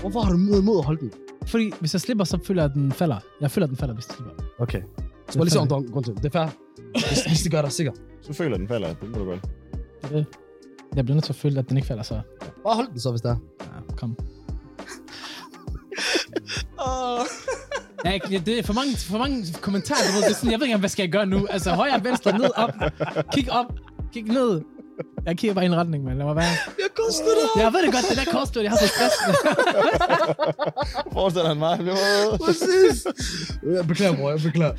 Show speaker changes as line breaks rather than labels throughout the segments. Hvorfor har du mod imod at holde den?
Fordi hvis jeg slipper, så føler jeg, at den falder. Jeg føler, at den falder, hvis jeg slipper.
Okay.
Det
Så bare lige se
falder.
om der er en grund til det. Det er fair. Hvis, hvis det gør dig sikker.
Du føler, den falder. Det må du godt.
Jeg bliver nødt til at føle, at den ikke falder, så...
Bare hold den så, hvis det er.
Ja, kom.
Ah,
Ja, ikke- det er for mange, for mange kommentarer. Du ved, det er sådan, jeg ved ikke, engang, hvad skal jeg gøre nu? Altså, højre, venstre, ned, op. Kig op. Kig ned. Jeg kigger bare i en retning, mand. Lad mig være.
Jeg koster dig.
Jeg ved det godt, det der korstød, jeg har så stress.
Forestiller han mig?
Præcis. Jeg beklager, bror. Jeg beklager.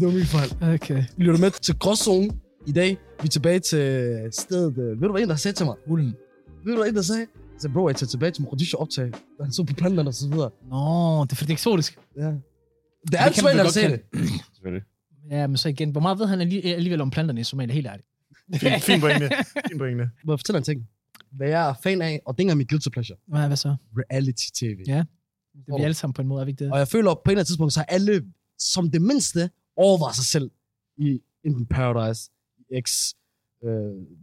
Det var min fejl.
Okay.
Lytter med til Gråzonen i dag. Vi er tilbage til stedet. øh, Ved du, hvad en der sagde til mig?
Hulen.
Ved du, hvad en der sagde? Jeg sagde, bro, jeg tager tilbage til Mogadishu optag. Da han så på planterne og så videre.
Nå, det er fordi, det er eksotisk.
Ja. Det er
Det
altid,
kan
hvad
man vel
der
godt
sagde det.
kalde-
Selvfølgelig.
Ja, men så igen, hvor meget ved han alli- alligevel om planterne i Somalia, helt ærligt?
Fin, fin pointe. Fin pointe.
Må jeg fortælle en ting? Hvad jeg er fan af, og det er ikke engang mit guilty pleasure.
Hvad, hvad så?
Reality-tv.
Ja. Det er vi alle sammen på en måde, er vi ikke det?
Og jeg føler, at på et eller andet tidspunkt, så har alle som det mindste overvejet sig selv i Enten Paradise, i X, øh,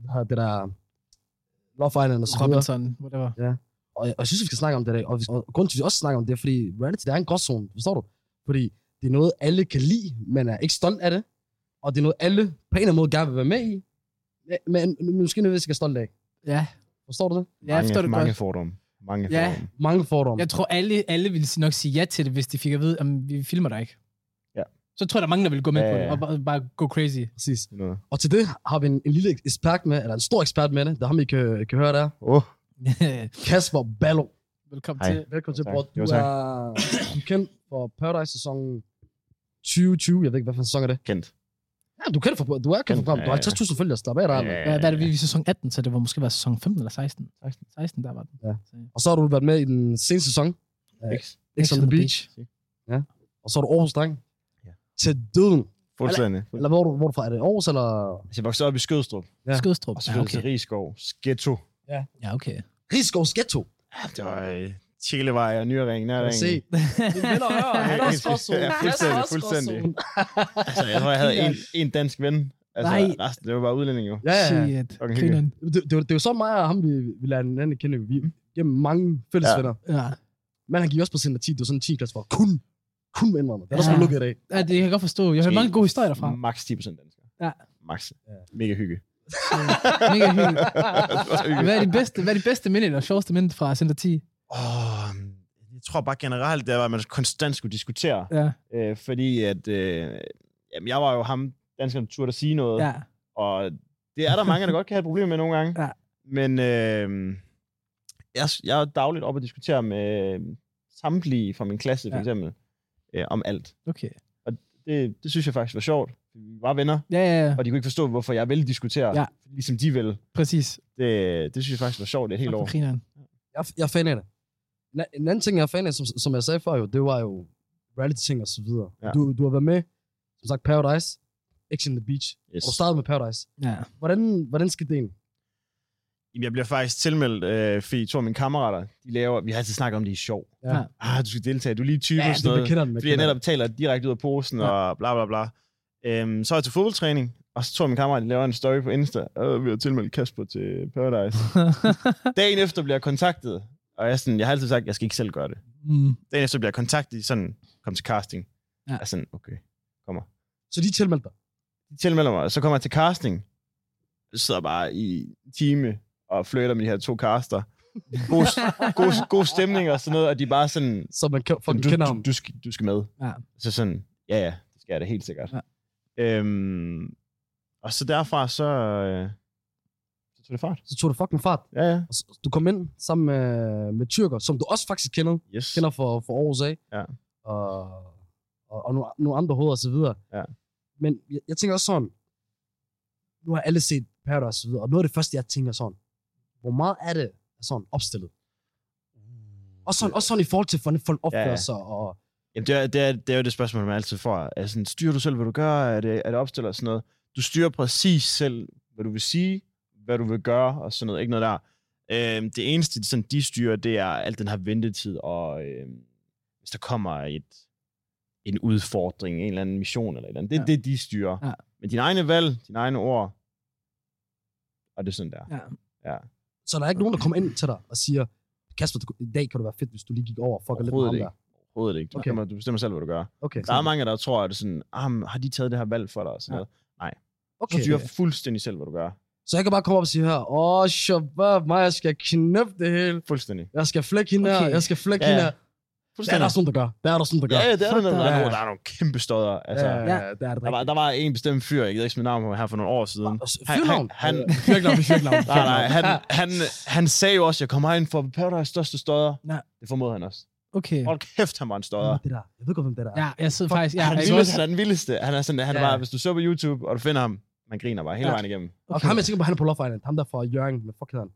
har det der Love Island og så videre.
Robinson, whatever.
Og, jeg- og jeg synes, vi skal snakke om det i dag. Og, vi, og grunden til, at vi også snakker om det, er, fordi reality, det er en gråzone, forstår du? Fordi det er noget, alle kan lide, men er ikke stolt af det. Og det er noget, alle på en eller anden måde gerne vil være med i. men- Men måske nødvendigvis ikke er stolt af.
Ja.
Forstår du det?
Ja, jeg forstår det
mange
godt.
fordomme. Mange
Ja.
fordomme.
Mange fordomme.
Jeg tror, alle, alle ville nok sige ja til det, hvis de fik at vide, at vi filmer dig ikke.
Ja.
Så tror jeg, der er mange, der vil gå med
Ja,
på
ja,
det,
ja.
og bare, bare gå crazy.
Præcis.
Noget.
Og til det har vi en, en lille ekspert med, eller en stor ekspert med det. Det er ham, I kan, kan høre der.
Åh,
Kasper Ballo.
Velkommen
Hej.
til.
Velkommen til,
Tak.
bror. Du
Jo, tak.
er du er kendt for Paradise-sæsonen 2020. Jeg ved ikke, hvad for en sæson er det.
kendt.
Ja, du er kendt for, du er kendt for programmet. Du har
Ja, ja.
50.000 følgere. Slap af dig. mand.
Hvad, hvad er det, vi er i sæson 18, så det var måske var sæson 15 eller 16?
16.
16, der var den.
Ja.
Så,
Og så har du været med i den seneste sæson,
X.
X on the Beach. Ja. Og så er du Aarhus Dreng.
Ja.
Til døden.
Fuldstændig.
Eller hvor er du, hvor er du fra? Er det Aarhus, eller?
Altså, jeg voksede op i Skødstrup.
Ja.
Ja. Skødstrup.
Og så
Ja,
flyttede
okay.
til Rigskov. Ghetto.
Ja, okay.
Rigskovs Ghetto.
Det var øh, Tjelevej og Nyring,
Kan
Nærring.
se. Min venner og hører, han er også gråzone.
Ja,
Han er
fuldstændig,
også
fuldstændig.
gråzone.
Altså, jeg tror, jeg havde en, en dansk ven. Altså,
Nej.
resten, det var bare udlænding jo.
Ja, ja, ja.
Shit.
Fucking
Grineren.
det, det, var- det er jo så mig og ham, vi, vi lader hinanden kende. Vi, gennem mange fælles
Ja.
venner.
Ja.
Men han gik også på sin latin. Det var sådan en 10 klasse for kun, kun med indvandrere. Det er også
Ja.
blevet lukket i dag.
ja, det kan jeg godt forstå. Jeg hører
Måske
mange gode historier derfra.
Max 10% danskere.
Ja.
Max.
Ja.
Mega hygge.
Mega hyggeligt.
Det var så hyggeligt.
Hvad er de bedste, hvad er de bedste minde, eller sjoveste minde fra Center 10?
Åh, jeg tror bare generelt, det var, at man konstant skulle diskutere.
Ja.
Øh, fordi at, øh, jamen, jeg var jo ham, danskeren turde at sige noget.
ja.
Og det er der mange, der godt kan have problemer med nogle gange.
Ja.
Men øh, jeg, jeg er dagligt oppe og diskutere med samtlige fra min klasse, for
Ja.
eksempel, øh, om alt.
Okay.
Det, det synes jeg faktisk var sjovt. Vi var venner,
Ja, ja, ja.
og de kunne ikke forstå, hvorfor jeg ville diskutere,
Ja.
ligesom de ville.
Præcis.
Det, det synes jeg faktisk var sjovt et helt år.
Grineren.
Jeg, jeg er fan af det. En, en anden ting, jeg er fan af, som, som jeg sagde før, jo, det var jo reality-ting og så videre.
Ja.
Ja. Du, du har været med, som sagt, Paradise, X on the Beach.
Yes.
Og du startede med Paradise.
Ja.
Hvordan, hvordan skete det egentlig?
Jamen, jeg bliver faktisk tilmeldt, øh, fordi to af mine kammerater, de laver, vi har altid snakket om, det er sjov.
Ja.
Ah, du skal deltage, du er lige typen. og sådan
det
noget.
man kender den. man
fordi jeg
kender
netop taler direkte ud af posen
Ja.
ja. og bla bla bla. Øhm, så er jeg til fodboldtræning, og så tog min kammerat, de laver en story på Insta, og vi har tilmeldt Kasper til Paradise. Dagen efter bliver jeg kontaktet, og jeg, er sådan, jeg har altid sagt, at jeg skal ikke selv gøre det.
mm.
Dagen efter bliver jeg kontaktet, sådan, kom til casting.
Ja.
Ja. Jeg er sådan, okay.
den. Så de tilmeldte dig.
De tilmelder mig, og så kommer jeg til casting. Jeg sidder bare i en time og flytter med de her to caster. God, god, god stemning og sådan noget, og de er bare sådan,
Så man kan, folk
du,
kender ham.
du, du, skal, du skal med.
Ja.
Så sådan, ja ja, det skal jeg da helt sikkert.
Ja.
Øhm, og så derfra, så, øh, så tog det fart.
Så tog du fucking fart.
Ja, ja.
Og så, du kom ind sammen med, med tyrker, som du også faktisk kender.
Yes.
kender for, for Aarhus af.
Ja.
Og, og, og nogle, nogle andre hoveder og så videre.
Ja.
Men jeg, jeg tænker også sådan, nu har alle set Paradise og så videre, og noget af det første, jeg tænker sådan, hvor meget er det er sådan opstillet? Og sådan, også sådan i forhold til, hvordan folk opfører
Ja,
sig, og
Jamen, det, er, det, er, det er jo det spørgsmål, man altid får. Er sådan, styrer du selv, hvad du gør? Er det, er det opstillet og sådan noget? Du styrer præcis selv, hvad du vil sige, hvad du vil gøre og sådan noget. Ikke noget der. Øhm, det eneste, sådan, de styrer, det er alt den her ventetid, og øhm, hvis der kommer et, en udfordring, en eller anden mission eller et eller andet. Det er
Ja.
ja. det, de styrer.
Ja.
Men dine egne valg, dine egne ord, og det er sådan der.
ja.
så der er ikke nogen, der kommer ind til dig og siger, Kasper, du- i dag kan det være fedt, hvis du lige gik over og fucker lidt med
Overhovedet
ham der.
Overhovedet ikke. Du,
Okay.
okay. bestemmer, du bestemmer selv, hvad du gør.
Okay,
Der er mange, der tror, at det er sådan, ah, men har de taget det her valg for dig? Og sådan
Ja.
ja. noget. Du
okay.
styrer fuldstændig selv, hvad du gør.
Så jeg kan bare komme op og sige her, åh, shabab, mig, jeg skal knæppe det hele.
Fuldstændig.
Jeg skal flække hende her,
Okay.
jeg skal flække
Ja,
hende
ja.
her. Der er der sådan, der gør. Der er der sådan, der
Ja,
gør.
ja, det er der,
Fuck
der,
dig.
der, der, der er nogle kæmpe stodder. Altså,
ja,
Ja.
der er det
der, var, der var en bestemt fyr, jeg ved ikke mit navn på her for nogle år siden.
rigtigt.
Han-
Fyrnavn.
han- han-
Fyrknavn, fyrknavn.
Nej, nej, han, han, han sagde jo også, jeg kommer ind for Paradise største stodder.
Nej.
Det formodede han også.
Okay.
Hold kæft, han var en stodder.
Det der. Jeg ved godt, hvem det der er.
Ja, jeg sidder faktisk... Ja,
han, er
jeg
den
kan
vildeste,
også,
han er den vildeste. Han er sådan, han er
Ja.
bare, hvis du søger på YouTube, og du finder ham, man griner bare hele
Ja.
vejen igennem.
Og
okay.
ham, jeg tænker på, han er på Love Island. Ham der fra Jørgen. Hvad fuck hedder han?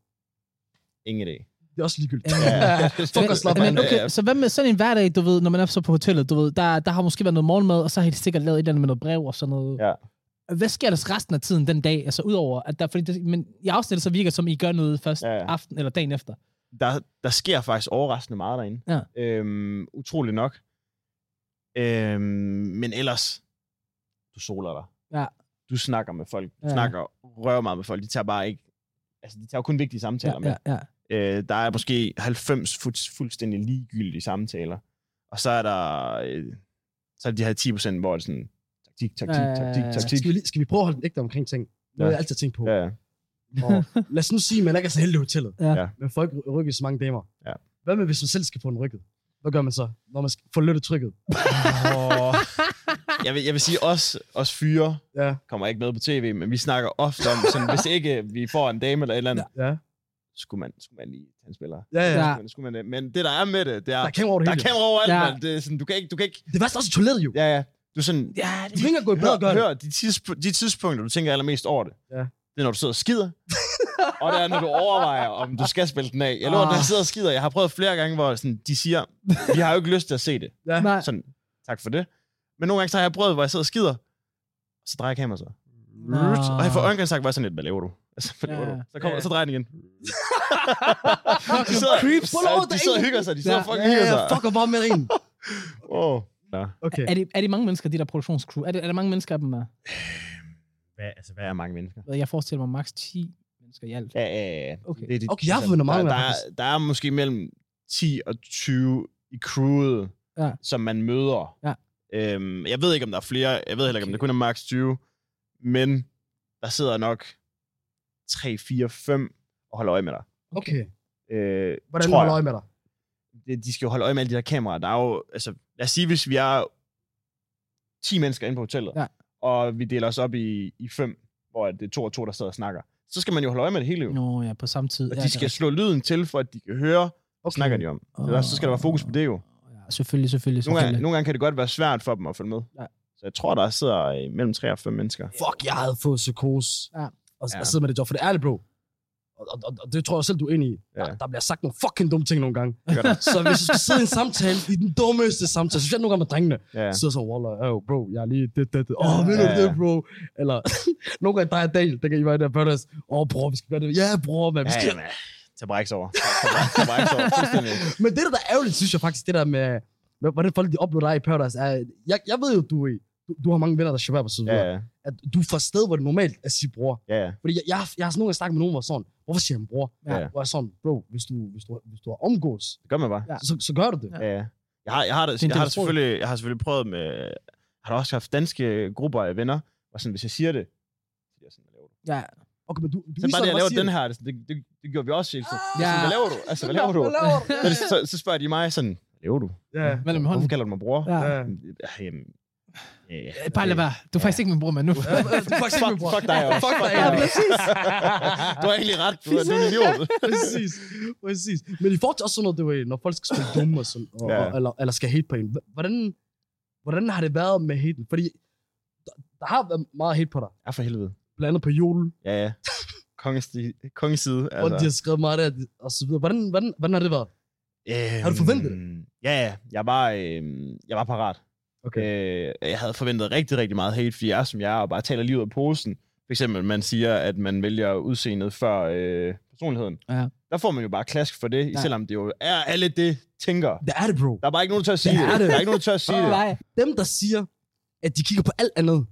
Ingen idé.
Det er også ligegyldigt.
Ja.
Fuck og slap af.
men, okay, så hvad med sådan en hverdag, du ved, når man er så på hotellet, du ved, der, der har måske været noget morgenmad, og så har de sikkert lavet et eller andet med noget brev og sådan noget.
Ja.
Hvad sker der så resten af tiden den dag? Altså udover, at der, fordi det, men i afsnittet så virker det som, I gør noget først
Ja, ja.
aften eller dagen efter.
der, der sker faktisk overraskende meget derinde.
Ja.
Øhm, utrolig nok. Øhm, men ellers, du soler dig.
Ja.
Du snakker med folk. Du
Ja.
ja. snakker røv meget med folk. De tager bare ikke... Altså, de tager jo kun vigtige samtaler med.
ja, ja.
Øh, der er måske 90 fu- fuldstændig ligegyldige samtaler. Og så er der... Øh, så er det de her 10 procent, hvor det er sådan... Taktik, taktik,
Ja, ja, ja,
taktik,
ja.
taktik.
Skal vi, lige- skal vi prøve at holde den ægte omkring ting? Det har
Ja.
jeg altid tænkt på.
Ja, ja.
Og lad os nu sige, at man ikke er så heldig i hotellet.
Ja.
Ja.
Men folk rykker så mange damer.
Ja.
Hvad med, hvis man selv skal få den rykket? Hvad gør man så, når man får løttet trykket?
Og jeg, vil, jeg vil sige, os, os fyre
Ja.
kommer ikke med på tv, men vi snakker ofte om, sådan, hvis ikke øh, vi får en dame eller et eller andet,
Ja.
skulle man, skulle man lige tage en spiller.
Ja, ja.
Ja.
ja.
Skulle man, skulle man, det. men det, der er med det, det er,
Der er kamera over det
der er
hele.
kamera overalt,
Ja.
ja. man. Det er sådan, du kan ikke, du kan ikke,
Det værste er også i toilettet jo.
ja, ja, du er sådan,
ja,
Du kan ikke engang gå i bad og
hør,
gøre det.
hør de, tidspunkter, de tidspunkter, du tænker allermest over det,
Ja.
det er, når du sidder og skider, og det er, når du overvejer, om du skal spille den af. Jeg lover,
Ah.
når jeg sidder og skider, jeg har prøvet flere gange, hvor sådan, de siger, vi har jo ikke lyst til at se det.
Ja.
Nej.
Sådan, tak for det. Men nogle gange så har jeg prøvet, hvor jeg sidder og skider, så drejer kameraet sig. Rut. Og jeg får øjenkontakt, hvor jeg sådan lidt, hvad laver du? Altså, hvad
Ja.
laver du? Så, kommer,
Ja.
så drejer den igen.
Fucking
de sidder,
creeps.
ja, de sidder og hygger sig, de sidder og fucking
Ja,
hygger
ja,
sig.
fuck og bare med en.
Åh. Ja.
Okay.
Er det, er det mange mennesker, de der produktionscrew? Er det, er det mange mennesker af dem? Er?
Hvad, altså, hvad er mange mennesker?
Jeg forestiller mig maks 10 mennesker i alt.
Ja, ja, ja.
Okay.
Det, det,
Okay, jeg har fundet mange,
der, der,
faktisk.
er- der er måske mellem 10 og 20 i crewet,
Ja.
som man møder.
Ja.
Øhm, jeg ved ikke, om der er flere. Jeg ved heller ikke, om det kun er max 20. Men der sidder nok 3, 4, 5 og holder øje med dig.
Okay.
Øh,
Hvordan
tror jeg.
holder øje med dig?
det- de skal jo holde øje med alle de der kameraer. Der er jo, altså, lad os sige, hvis vi er 10 mennesker inde på hotellet,
Ja.
og vi deler os op i, i fem, hvor det er to og to, der sidder og snakker, så skal man jo holde øje med det hele. Jo.
Nå ja, på samme tid.
Og
Ja,
de
det er
skal slå lyden til, for at de kan høre, okay. hvad
Okay.
snakker de om.
rigtigt.
Ellers så skal der være fokus på det jo.
Ja, selvfølgelig, selvfølgelig.
Nogle gange,
selvfølgelig.
nogle gange kan det godt være svært for dem at følge med.
Ja.
Så jeg tror, der sidder øh, mellem 3 og 5 mennesker.
Fuck, jeg havde fået psykose.
Ja.
Og,
Ja.
og sidde med det job, for det er ærligt, bro. Og, og, og, og det tror jeg selv, du er inde i.
Ja.
Der, der bliver sagt nogle fucking dumme ting nogle gange.
Det gør der.
så hvis du skal sidde i en samtale, i den dummeste samtale, så synes jeg nogle gange med drengene,
Ja.
ja. sidder så, Walla, oh, bro, jeg er lige det, det, det. Åh, oh, ved du
Ja.
det, bro? Eller nogle gange dig og Daniel, der kan I være i der Paradise. Åh, oh, bror, vi skal gøre det. Ja, bror, man, vi
Ja,
skal
ja, man. Tag bræks over. Tag bræks over. fuldstændig.
Men det, der er ærgerligt, synes jeg faktisk, det der med, med hvordan folk de oplever dig i Paradise, er, jeg, jeg ved jo, du, er- du, du har mange venner, der shabab og så
Ja,
videre,
ja,
at du er fra et sted, hvor det normalt er at sige bror.
ja, ja.
Fordi jeg, jeg, har- jeg har sådan nogle gange snakket med nogen, hvor jeg er sådan, hvorfor siger han bror?
Ja.
Hvor jeg er sådan, bro, hvis du, hvis du, hvis du har omgås,
Det gør man bare.
Ja.
så, så gør du det.
Ja.
Ja.
Ja. ja. Jeg har, jeg har,
Det
det,
er en
jeg har
del af
det selvfølgelig, jeg har selvfølgelig prøvet med, jeg har da også haft danske grupper af venner, og sådan, hvis jeg siger det, så er jeg sådan, hvad laver du?
Ja,
Okay, men du, du
Så bare det, jeg laver den
her.
her, det, er sådan, det, det, det gjorde vi også hele tiden.
Ja.
Ja. Sådan, hvad laver du? Altså, hvad laver du? Så, er det- så, så spørger de mig sådan, hvad laver du?
Ja.
mellem
Hvorfor
hånden.
kalder du mig bror?
Ja.
Ja.
Ja, jamen, ja, ja.
Øh, Bare lad være. Du er faktisk ikke min bror, men nu.
Ja, fuck,
Fuck, fuck dig også.
Fuck dig
Ja,
også.
præcis.
Du har egentlig ret. Du er, du er en idiot.
præcis, præcis. Men i forhold til også sådan noget, det var, når folk skal spille dumme og sådan, og,
Ja.
og, eller, eller skal hate på en, h- hvordan, hvordan har det været med haten? Fordi der, der har været meget hate på dig,
Ja, for helvede.
blandt andet på jul,
Ja, ja. Kongeside. Kongeside altså.
hvor de har skrevet meget der, og så videre. Hvordan, hvordan, hvordan har det været?
Øhm,
Øh, Har du forventet
Ja, ja. Jeg var, øh, jeg var parat.
Okay.
Øh, jeg havde forventet rigtig, rigtig meget hate, fordi jeg er som jeg er, og bare taler livet af posen. For eksempel, man siger, at man vælger udseendet før øh, personligheden.
Ja.
Der får man jo bare klask for det,
Ja.
ja. selvom det jo er alle det, tænker.
Det er det, bro.
Der er bare ikke nogen, der tør at sige
Det
det.
er det.
Der er ikke nogen, der tør at sige det.
Nej.
Dem, der siger, at de kigger på alt andet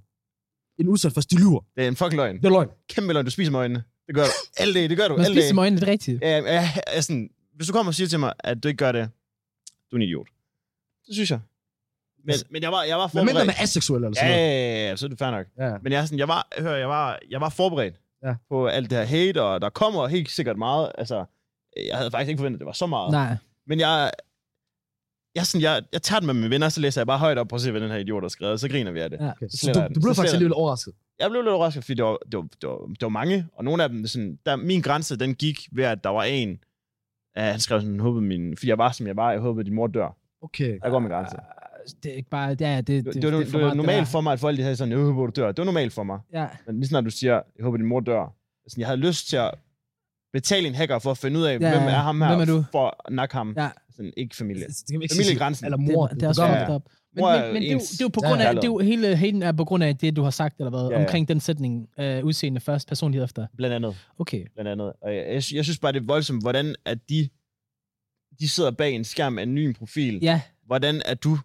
end udsat først, de lyver.
Det er en fucking løgn.
Det er løgn.
Kæmpe løgn, du spiser med øjnene. Det gør du. Alt det, det gør du.
Man
Alt
spiser
det.
med øjnene, det er rigtigt.
Ja, ja, ja, sådan, hvis du kommer og siger til mig, at du ikke gør det, du er en idiot. Det synes jeg. Men, men jeg var, jeg var
Men
forberedt.
mindre man er seksuel eller
ja,
sådan noget.
ja, ja, ja, så er det fair nok.
Ja.
Men jeg, er sådan, jeg, var, hør, jeg, var, jeg var forberedt
Ja.
ja. på alt det her hate, og der kommer helt sikkert meget. Altså, jeg havde faktisk ikke forventet, at det var så meget.
Nej.
Men jeg, jeg, er sådan, jeg, jeg tager den med mine venner, så læser jeg bare højt op og ser, hvad den her idiot har skrevet, og så griner vi af det.
Ja.
Okay. Så
Så sletter
du,
jeg den.
du blev
Så
faktisk
sletter jeg
lidt overrasket.
Jeg blev lidt overrasket, fordi det var, det var, det var, det var mange, og nogle af dem, sådan, der, min grænse, den gik ved, at der var en, at han skrev sådan, håbede min, fordi jeg var, som jeg var, jeg håbede, din mor dør.
Okay.
Der går min grænse.
Det er ikke bare... Det er, det,
Det, det, var, det,
for
det var
meget,
normalt
der.
for mig, at folk de havde sådan, jeg håber, du dør. Det var normalt for mig.
Ja.
Men lige snart du siger, jeg håber, din mor dør. Sådan, jeg havde lyst til at betale en hacker for at finde ud af, ja, hvem er ham her,
Hvem er du?
for at nakke ham.
Ja.
Sådan, ikke familie.
Det kan man ikke sige.
Familiegrænsen.
Eller
Det,
mor.
det er også
gør
ja,
jeg.
ja. Men,
Mor
men,
er
men det, er jo-
ens
det er jo på grund af,
kærlighed.
det er jo hele haten er på grund af det, du har sagt, eller hvad,
Ja, ja.
omkring den sætning, øh, udseende først, personlighed efter.
Blandt andet.
Okay.
blandt andet. Og jeg, jeg, sy- jeg synes bare, det er voldsomt, hvordan at de, de sidder bag en skærm af en ny profil.
Ja,
Hvordan er du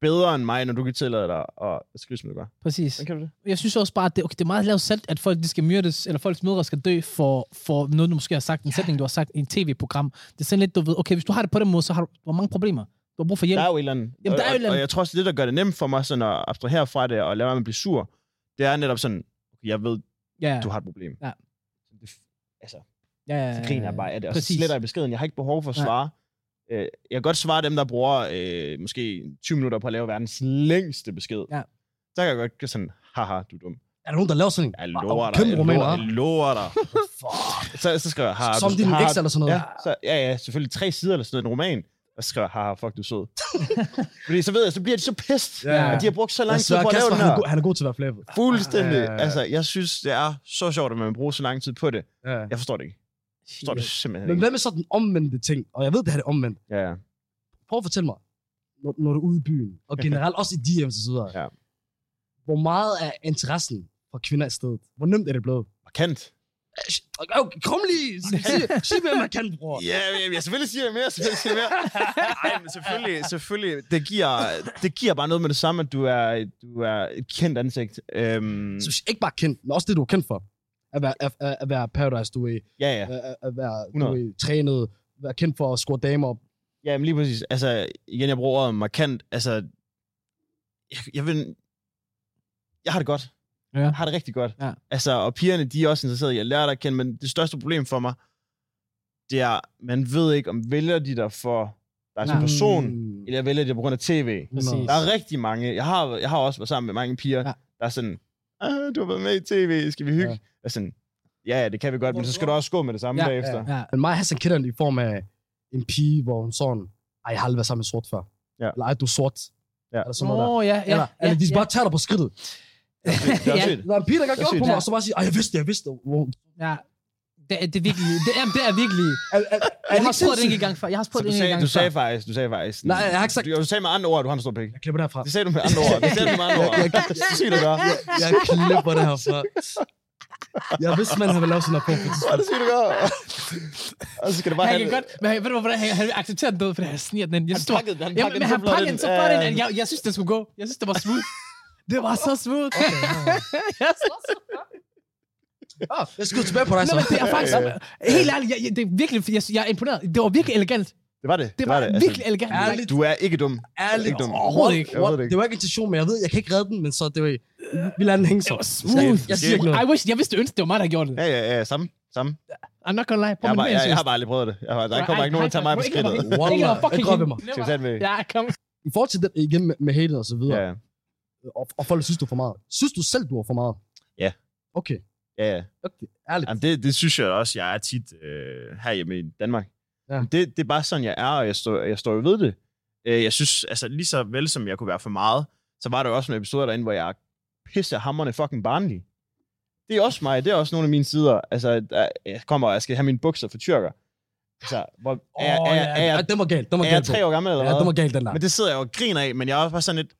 bedre end mig, når du kan tillade dig at at skrive, som du gør?
præcis.
Hvordan kan du det?
Jeg synes også bare, at det, okay, det er meget lavt sat, at folk de skal myrdes, eller folks mødre skal dø for, for noget, du måske har sagt, en sætning, du har sagt i et tv-program. Det er sådan lidt, du ved, okay, hvis du har det på den måde, så har du, du har mange problemer. Du har brug for hjælp.
Der er jo et eller andet.
Jamen, der er jo et
og,
eller andet.
og, og jeg tror også, det der gør det nemt for mig sådan at abstrahere fra det og lade være med at blive sur, det er netop sådan, okay, jeg ved,
Ja, ja,
du har et problem.
Ja.
Det f- Altså,
ja,
så griner jeg bare af det, og så
præcis.
sletter jeg beskeden. Jeg har ikke behov for at
Nej.
svare. Øh, Jeg kan godt svare dem, der bruger øh, måske 20 minutter på at lave verdens længste besked.
Ja.
Der kan jeg godt gøre sådan, haha, du er dum.
Er der nogen, der laver sådan en?
Jeg
Og- og
lover dig.
Kæmpe
Jeg
romaner.
lover, jeg lover dig.
Fuck.
Så, så skriver jeg, har
Som
du-
din
har-
eks eller sådan noget.
Ja, så, ja, ja, selvfølgelig tre sider eller sådan noget, en roman. Og så skriver jeg, haha, fuck, du er sød. Fordi så ved jeg, så bliver de så pissed.
Ja.
At de har brugt så
Jeg
lang tid
svær,
på at lave
Kasper,
den
han er,
her.
god, han er god til at være flæbet.
Fuldstændig.
Ja.
Altså, jeg synes, det er så sjovt, at man bruger så lang tid på det.
Ja.
Jeg forstår det ikke. Jeg forstår det simpelthen
Men
ikke.
hvad med sådan den omvendte ting? Og jeg ved, det her er det omvendt.
Ja, ja.
Prøv at fortælle mig, når, når du er ude i byen, og generelt også i DM's og så videre.
Ja.
Hvor meget er interessen for kvinder i stedet? Hvor nemt er det blevet?
Markant.
Okay, kom lige. Sig, sig hvem man kan, bror.
Ja, jeg, jeg selvfølgelig siger jeg mere, selvfølgelig siger jeg mere. Ej, men selvfølgelig, selvfølgelig, det giver, det giver bare noget med det samme, at du er, du er et kendt ansigt. Øhm,
Så ikke bare kendt, men også det, du er kendt for. At være, at, at- at være Paradise, du er,
ja, ja.
at, at være, du
100.
er trænet, være kendt for at score damer op.
Ja, men lige præcis. Altså, igen, jeg bruger ordet markant. Altså, jeg, jeg vil... Jeg har det godt.
Ja.
Jeg har det rigtig godt.
Ja.
Altså, og pigerne, de er også interesserede i at lære dig at kende, men det største problem for mig, det er, man ved ikke, om vælger de dig for dig som
Nej.
Altså, person,
Mm.
eller vælger de dig på grund af tv.
Præcis.
Der er rigtig mange. Jeg har, jeg har også været sammen med mange piger,
Ja.
der er sådan, ah, du har været med i tv, skal vi hygge?
Ja.
Ja. Jeg er sådan, ja, ja, det kan vi godt, men så skal du også gå med det samme
Ja,
ja, bagefter.
Ja,
Men mig og Hassan kender den i form af en pige, hvor hun sådan, ej, jeg har aldrig været sammen med sort før.
Ja.
Eller ej, du er sort.
Ja.
Eller sådan noget der.
Åh, ja, ja.
Eller, eller de
ja,
bare tager dig på skridtet.
Det er
Ja.
også sygt.
Der er en pige, der gør
Det er
gjort på
sygt.
mig,
Ja.
og så bare siger, ej, jeg vidste det, jeg vidste det. Wow.
ja. Det, er- det er virkelig, det er, det er virkelig.
Er, er, er
Jeg
det
har
ikke
spurgt det
sindssygt?
ikke engang før. Jeg har
Så
spurgt
du
det ikke
sagde,
engang
du sagde faktisk, du sagde faktisk.
Nej, jeg har ikke sagt-
Du, du sagde med andre ord, at du har en stor pik.
Jeg klipper derfra.
Det sagde du med andre ord. Det sagde du med andre ord.
Jeg- jeg-
Det er sygt, du gør.
Jeg klipper det herfra. Jeg vidste, man havde lavet sådan noget på.
Hvor er det sygt, du gør. Og så skal du bare
Han
have
kan godt, men han- ved du, hvordan han, han accepterer den død, fordi han sniger den ind. Jeg synes, det var-
pakkede den, han
Jamen, men
pakkede den
han
så flot
pakkede den
ind.
så flot ind,
Ja, ja.
at jeg, jeg synes, det skulle gå. Jeg synes, det var smooth. Det var så smooth. Jeg synes-
Ah, jeg skyder tilbage på dig,
Nå,
så.
men det er faktisk... Helt ærligt, jeg, jeg, det er virkelig... Jeg, jeg er imponeret. Det var virkelig elegant.
Det var det.
Det var,
Altså,
virkelig elegant.
ærligt.
Du er ikke dum.
Ærligt.
Ikke dumt.
Overhovedet ikke.
Jeg ved det ikke.
Det var ikke intention, men jeg ved, jeg kan ikke redde den, men så det var... Vi lader den hænge så.
Det var smooth.
Jeg siger ikke noget.
I wish, jeg vidste ønske, det var mig, der gjorde det.
Ja, ja, ja. Samme. Samme.
I'm not gonna lie. Prøv
Jeg har,
med
bare,
det
jeg, jeg
seriøst.
har bare aldrig prøvet det. Jeg har, der kommer ikke nogen, der tager mig på
Ikke
skridtet.
noget-
Wallah,
Ikke noget
jeg
fucking
dropper mig.
hende.
Skal vi tage den med?
Ja, kom.
I forhold til det, igen med, med hatet og så videre,
Ja,
yeah. og, og folk synes, du er for meget. Synes du selv, du er for meget?
Ja.
Okay,
ja, ja.
okay. Ærligt.
Jamen, det, det synes jeg også, jeg er tit øh, herhjemme i Danmark.
Ja.
Ja. Det, det er bare sådan, jeg er, og jeg står, jeg står jo ved det. Øh, jeg synes, altså lige så vel som jeg kunne være for meget, så var der jo også nogle episoder derinde, hvor jeg er pissehammerende fucking barnlig. Det er også mig, det er også nogle af mine sider. Altså, der, jeg kommer, og jeg skal have mine bukser for tyrker. Altså, hvor, er,
Åh,
er, er,
ja,
er,
ja,
jeg-
den var galt, den var
er jeg
galt.
tre år gammel eller
Ja,
hvad?
den var galt, den der.
Men det sidder jeg jo og griner af, men jeg er også bare sådan lidt,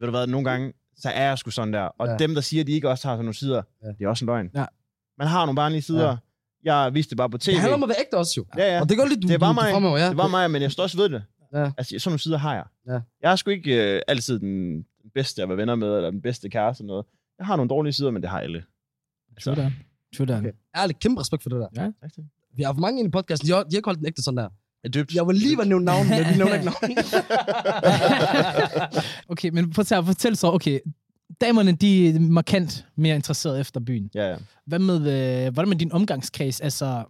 ved du hvad, nogle gange, så er jeg sgu sådan der. Og
Ja.
ja. dem, der siger, at de ikke også har sådan nogle sider,
Ja.
ja. det er også en løgn.
Ja.
Man har nogle barnlige sider. Ja. Jeg viste det bare på tv.
Det handler om at være ægte også, jo.
Ja, ja.
Og det gør lidt, du,
Det var
du, du
mig.
fremhæver, ja.
Det var mig, men jeg står også ved det.
Ja.
Altså, sådan nogle sider har jeg.
Ja.
Jeg er sgu ikke øh, altid den den bedste at være venner med, eller den bedste kæreste eller noget. Jeg har nogle dårlige sider, men det har alle.
True that. True that.
Okay. Ærligt, kæmpe respekt for det der.
Ja.
Rigtigt.
Vi har for mange ind i podcasten. De har, de har ikke holdt den ægte sådan der.
Er dybt.
Jeg var lige ved at nævne navn, men vi nævner ikke navn.
okay, men prøv at fortæl så, okay, damerne, de er markant mere interesseret efter byen.
Ja, ja.
Hvad med, øh, hvordan med din omgangskreds? Altså,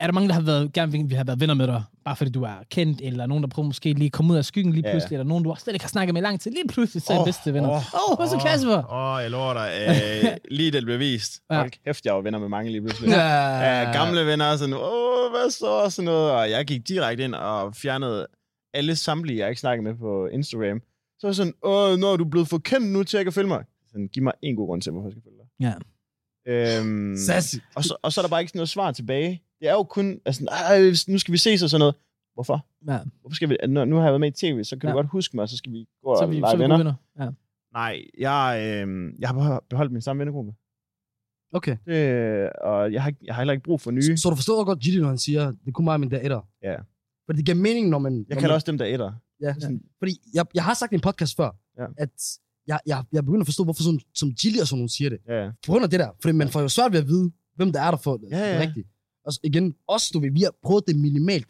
er der mange, der har været, gerne vil, vil have været venner med dig, bare fordi du er kendt, eller nogen, der prøver måske lige at komme ud af skyggen lige
Ja, ja.
pludselig, eller nogen, du slet ikke har snakket med i lang tid, lige pludselig, så er oh,
Åh,
bedste venner. Åh,
åh,
oh, oh, så
åh.
Kasper!
Åh, jeg lover dig. Øh, lige det blev vist.
Ja.
Hold kæft, jeg var venner med mange lige pludselig. Ja.
Ah.
Ja, gamle venner, sådan, åh, hvad så, og sådan noget. Og jeg gik direkte ind og fjernede alle samtlige, jeg ikke snakkede med på Instagram. Så var jeg sådan, åh, når du er blevet for kendt nu til, at jeg kan følge mig. Sådan, giv mig en god grund til, hvorfor jeg skal følge dig.
Ja.
Øhm,
Sassy.
og, så, og så er der bare ikke sådan noget svar tilbage. Det er jo kun, altså, "Ej, nu skal vi ses og sådan noget. Hvorfor?
Ja.
Hvorfor skal vi, nu, nu har jeg været med i tv, så kan ja.
Ja.
du godt huske mig, og så skal vi gå
Så
og
er vi, så
lege
er vi
venner.
gode venner. Ja.
Nej, jeg, øh, jeg har beho- beholdt min samme vennegruppe.
Okay.
Det, og jeg har, ikke- jeg har heller ikke brug for nye.
Så du forstår godt Gigi, når han siger, det er kun mig og min der etter.
Ja.
For det giver mening, når man...
Jeg
når
kalder
man,
også dem, der etter.
Ja.
Sådan-
Fordi jeg, jeg har sagt i en podcast før,
Ja.
at jeg, jeg, jeg begynder at forstå, hvorfor sådan, som Gilly og sådan nogen siger det.
Ja, ja.
På grund af det der. Fordi man får jo svært ved at vide, hvem der er der for
Ja, ja.
ja. rigtigt. Og så igen, også du ved, vi har prøvet det minimalt.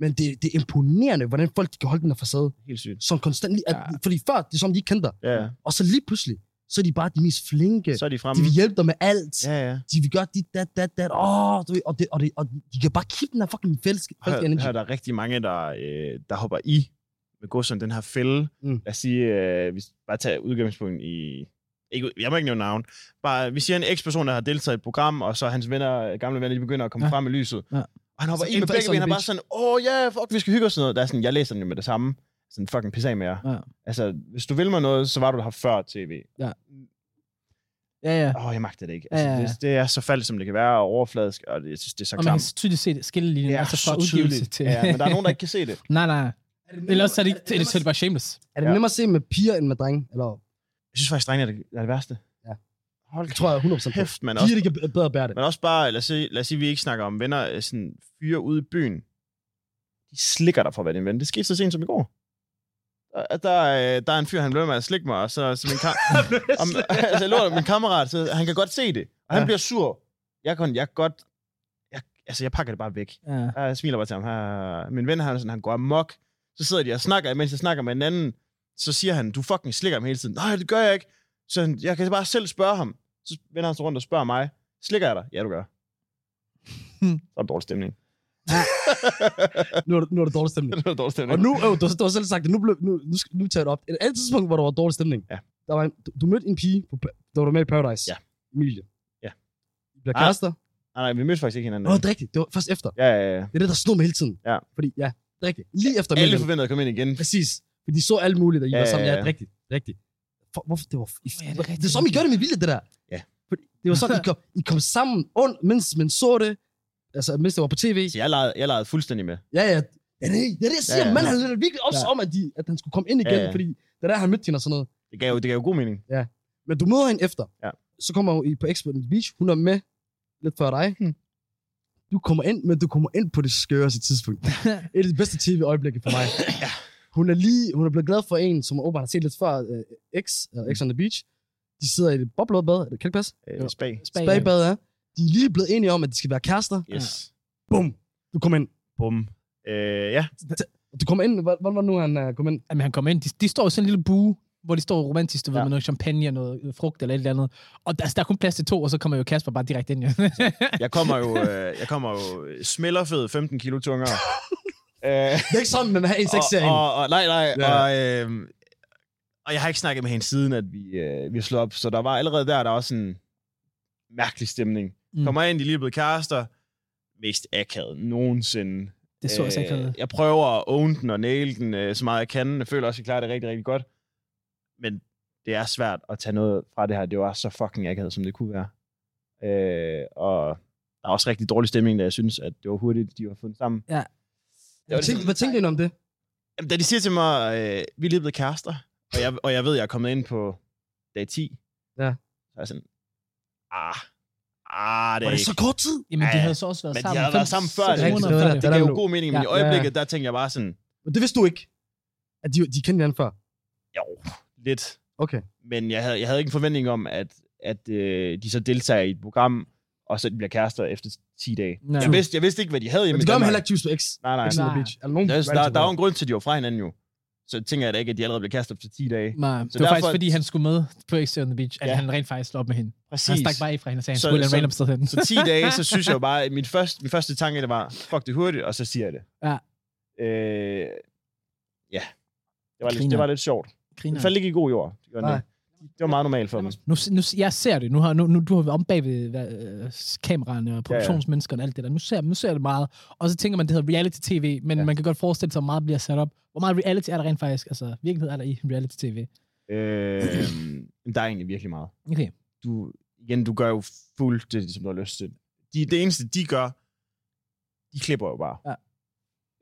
Men det, det er imponerende, hvordan folk de kan holde den her facade.
Helt sygt.
Som konstant, lige- at,
Ja.
Fordi før, det er som, de ikke kendte dig.
Ja, ja.
Og så lige pludselig, så er de bare de mest flinke.
Så er de
De
fremme.
vil hjælpe dig med alt.
Ja, ja.
De vil gøre dit, dat, dat, dat. Åh, du ved, og, det, og, det, og de kan bare keep den her fucking fælles, fælles
Her,
energy.
her er der rigtig mange, der, øh, der hopper i med god sådan den her fælde.
Mm.
Mm. Lad os sige, øh, hvis bare tager udgangspunkt i... Ikke, jeg må ikke nævne navn. Bare, vi siger en eks-person, der har deltaget i et program, og så hans venner, gamle venner, de begynder at komme
Ja.
ja. frem i lyset.
Ja.
Ja. Og han hopper
Så
i
en
med
for Ex
begge
on the
ben, og bare
Beach.
sådan, åh ja, yeah, fuck, vi skal hygge og sådan noget. Der er sådan, jeg læser den jo med det samme. Sådan, fucking pisse af med jer.
Ja.
Altså, hvis du vil mig noget, så var du her før tv.
Ja, ja.
Åh, oh, jeg magter det ikke. Altså,
Ja, ja, ja.
det, det, er så falsk, som det kan være, og overfladisk, og det, jeg synes, det er så
Og man kan
klamt.
tydeligt se det, skillelinjen,
Det er
altså fra
så
udgivelse
tydeligt.
til...
Ja, men der er nogen, der ikke kan se det.
nej, nej.
Er det
Eller
nemmere-
også er det, ikke-
er det
er det, så er det bare shameless.
Er det
Ja.
nemmere at se med piger end med drenge? Eller,
Jeg synes faktisk, drengene er det, er det værste.
Ja.
Hold
det tror jeg 100% på.
kæft, man.
Piger,
Også,
de kan b- bedre bære det.
men også bare, lad os, sige, lad os sige, vi ikke snakker om venner, øh, sådan fyre ude i byen. De slikker dig for at være din ven. Det skete så sent som i går. Der, der, øh, der er en fyr, han blev med at slikke mig, og så, så min, kam- om, altså, jeg lå der, min kammerat, så han kan godt se det. Og han
Ja.
bliver sur. Jeg kan, jeg kan godt... Jeg, altså, jeg pakker det bare væk.
Ja.
Og jeg smiler bare til ham. "Ha." Min ven, han, er sådan, han går amok. Så sidder de og snakker, mens jeg snakker med en anden. Så siger han, du fucking slikker ham hele tiden. Nej, det gør jeg ikke. Så han, jeg kan bare selv spørge ham. Så vender han sig rundt og spørger mig. Slikker jeg dig? Ja, du gør.
Hmm.
Så er der dårlig stemning.
Nu er det, nu er det dårlig stemning.
Så er der dårlig
Og
stemning.
nu, øh, du, har- du har selv sagt det, nu, blev, nu, nu, skal- nu tager jeg det op. Et andet tidspunkt, hvor der var dårlig stemning.
Ja.
Der var en, du, du mødte en pige, på, pa- der var med i Paradise.
Ja.
Emilie.
Ja.
I bliver
Ah.
kærester.
Nej, nej, vi mødte faktisk ikke hinanden.
Nå, det er rigtigt. Det var først efter.
Ja, ja, ja.
Det er det, der stod med hele tiden.
Ja.
Fordi, ja, det er rigtigt. Lige efter
Alle
Emilie.
forventede at komme ind igen.
Præcis. Fordi de så alt muligt, der I
Ja,
var sammen. Ja,
ja, ja.
det er rigtigt. Det er rigtigt. For, hvorfor det var... I,
er det
det, det
rigtigt?
er som, I gjorde det med vilje, det der.
Ja.
Fordi det var sådan, I kom, I kom sammen, und, mens man så det. Altså, mens det var på tv.
Så jeg legede, jeg legede fuldstændig med.
Ja, ja. Ja, det, er- det er det, jeg siger. Ja,
Ja,
ja.
ja.
Man havde virkelig også ja. om, at, de, at han skulle komme ind igen, ja,
Ja,
ja.
ja.
fordi det er der, han mødte hende og sådan noget.
Det gav, jo- det gav jo god mening.
Men du møder hende efter.
Ja.
Så kommer hun i på Expo on the Beach. Hun er med lidt før dig.
Hmm.
Du kommer ind, men du kommer ind på det skøreste tidspunkt. Et af de bedste tv-øjeblikke for mig.
Ja.
Hun er lige, hun er blevet glad for en, som hun åbenbart har set lidt før uh, X,
Hmm.
eller X on the Beach. De sidder i et boblebad, kan det ikke passe?
Øh, spag.
Spag-
Spagbad er. De er lige blevet enige om, at de skal være kærester.
Yes.
Bum! Du kommer ind.
Bum. Øh, ja.
Du kommer ind. Hvor- Hvordan var det nu, han uh, kom ind?
Jamen, han kommer ind. De, de står i sådan en lille bue, hvor de står romantisk, du ja. ved,
Ja.
med noget champagne og noget øh, frugt eller et eller andet. Og der, altså, der er kun plads til to, og så kommer jo Kasper bare direkte ind. Ja.
Jeg kommer jo, øh, jeg kommer jo smillerfed 15 kilo tungere. øh,
Det er ikke sådan, man har en sexserien.
og, og, og, nej, nej.
Ja.
Ja. Og, øh, og jeg har ikke snakket med hende siden, at vi, øh, vi slog op. Så der var allerede der, der var sådan en mærkelig stemning.
Mm.
Mm. Kommer ind, de er lige blevet kærester. Mest akavet nogensinde.
det så altså ikke
Øh,
noget.
Jeg prøver at own den og nail den øh, så meget jeg kan. Jeg føler også, at jeg klarer det rigtig, rigtig godt. Men det er svært at tage noget fra det her. Det var så fucking akavet, som det kunne være. Øh, og der er også rigtig dårlig stemning, da jeg synes, at det var hurtigt, de var fundet sammen.
Ja.
Det var ligesom-
Hvad
det,
tænkte, hvad tænkte I om det?
Jamen, da de siger til mig, øh, vi er lige blevet kærester, og jeg, og jeg ved, jeg er kommet ind på dag 10,
Ja.
så er jeg sådan, ah, ah, det
Var
er
det så
ikke.
kort tid?
Jamen, de
Ja,
havde så også været
Men de
sammen.
havde været sammen før,
seks
det er
måneder
rigtigt.
før
Det
Det
er
gav
der
jo
nu.
god mening, men
Ja.
i øjeblikket, der tænkte jeg bare sådan,
Men det vidste du ikke. At de, de kendte hinanden før.
jo, lidt.
Okay.
Men jeg havde, jeg havde ikke en forventning om, at, at øh, de så deltager i et program, og så de bliver kærester efter 10 dage.
Ja.
Jeg vidste, jeg vidste ikke, hvad de havde
Men
hjemme
det
i
gør man
Danmark.
heller ikke Juice på X.
Nej, nej.
X on the
Nej.
Beach. Er der nogen?
Der,
reality
der, der er jo
program?
en grund til, at de var fra hinanden jo. Så tænker jeg da ikke, at de allerede blev kastet op til 10 dage.
Nej, det var
derfor-
faktisk, fordi han skulle med på X on the Beach, at
Ja.
han rent faktisk slog op med hende.
Præcis.
Han stak bare af fra hende og sagde, at han
Så-
skulle et
så-
random sted hen.
Så 10 dage, så synes jeg jo bare, at min første, min første tanke det var, fuck det hurtigt, og så siger jeg det.
Ja.
Øh, ja. Det var, lidt,
Griner.
det var lidt sjort.
Griner.
Det faldt ikke i god jord. Det, gjorde den
Nej.
ikke. det var meget normalt for dem.
Nu, nu, jeg ser det. Nu har nu, nu du har været om bag ved øh, kameraerne og produktionsmenneskerne og alt det der. Nu ser, nu ser jeg det meget. Og så tænker man, det hedder reality-tv, men ja.
Ja.
man kan godt forestille sig, hvor meget bliver sat op. Hvor meget reality er der rent faktisk? Altså, virkelighed er der i reality-tv.
Øh, men der er egentlig virkelig meget.
Okay.
Du, igen, du gør jo fuldstændig, som du har lyst til. De, det eneste, de gør, de klipper jo bare.
Ja.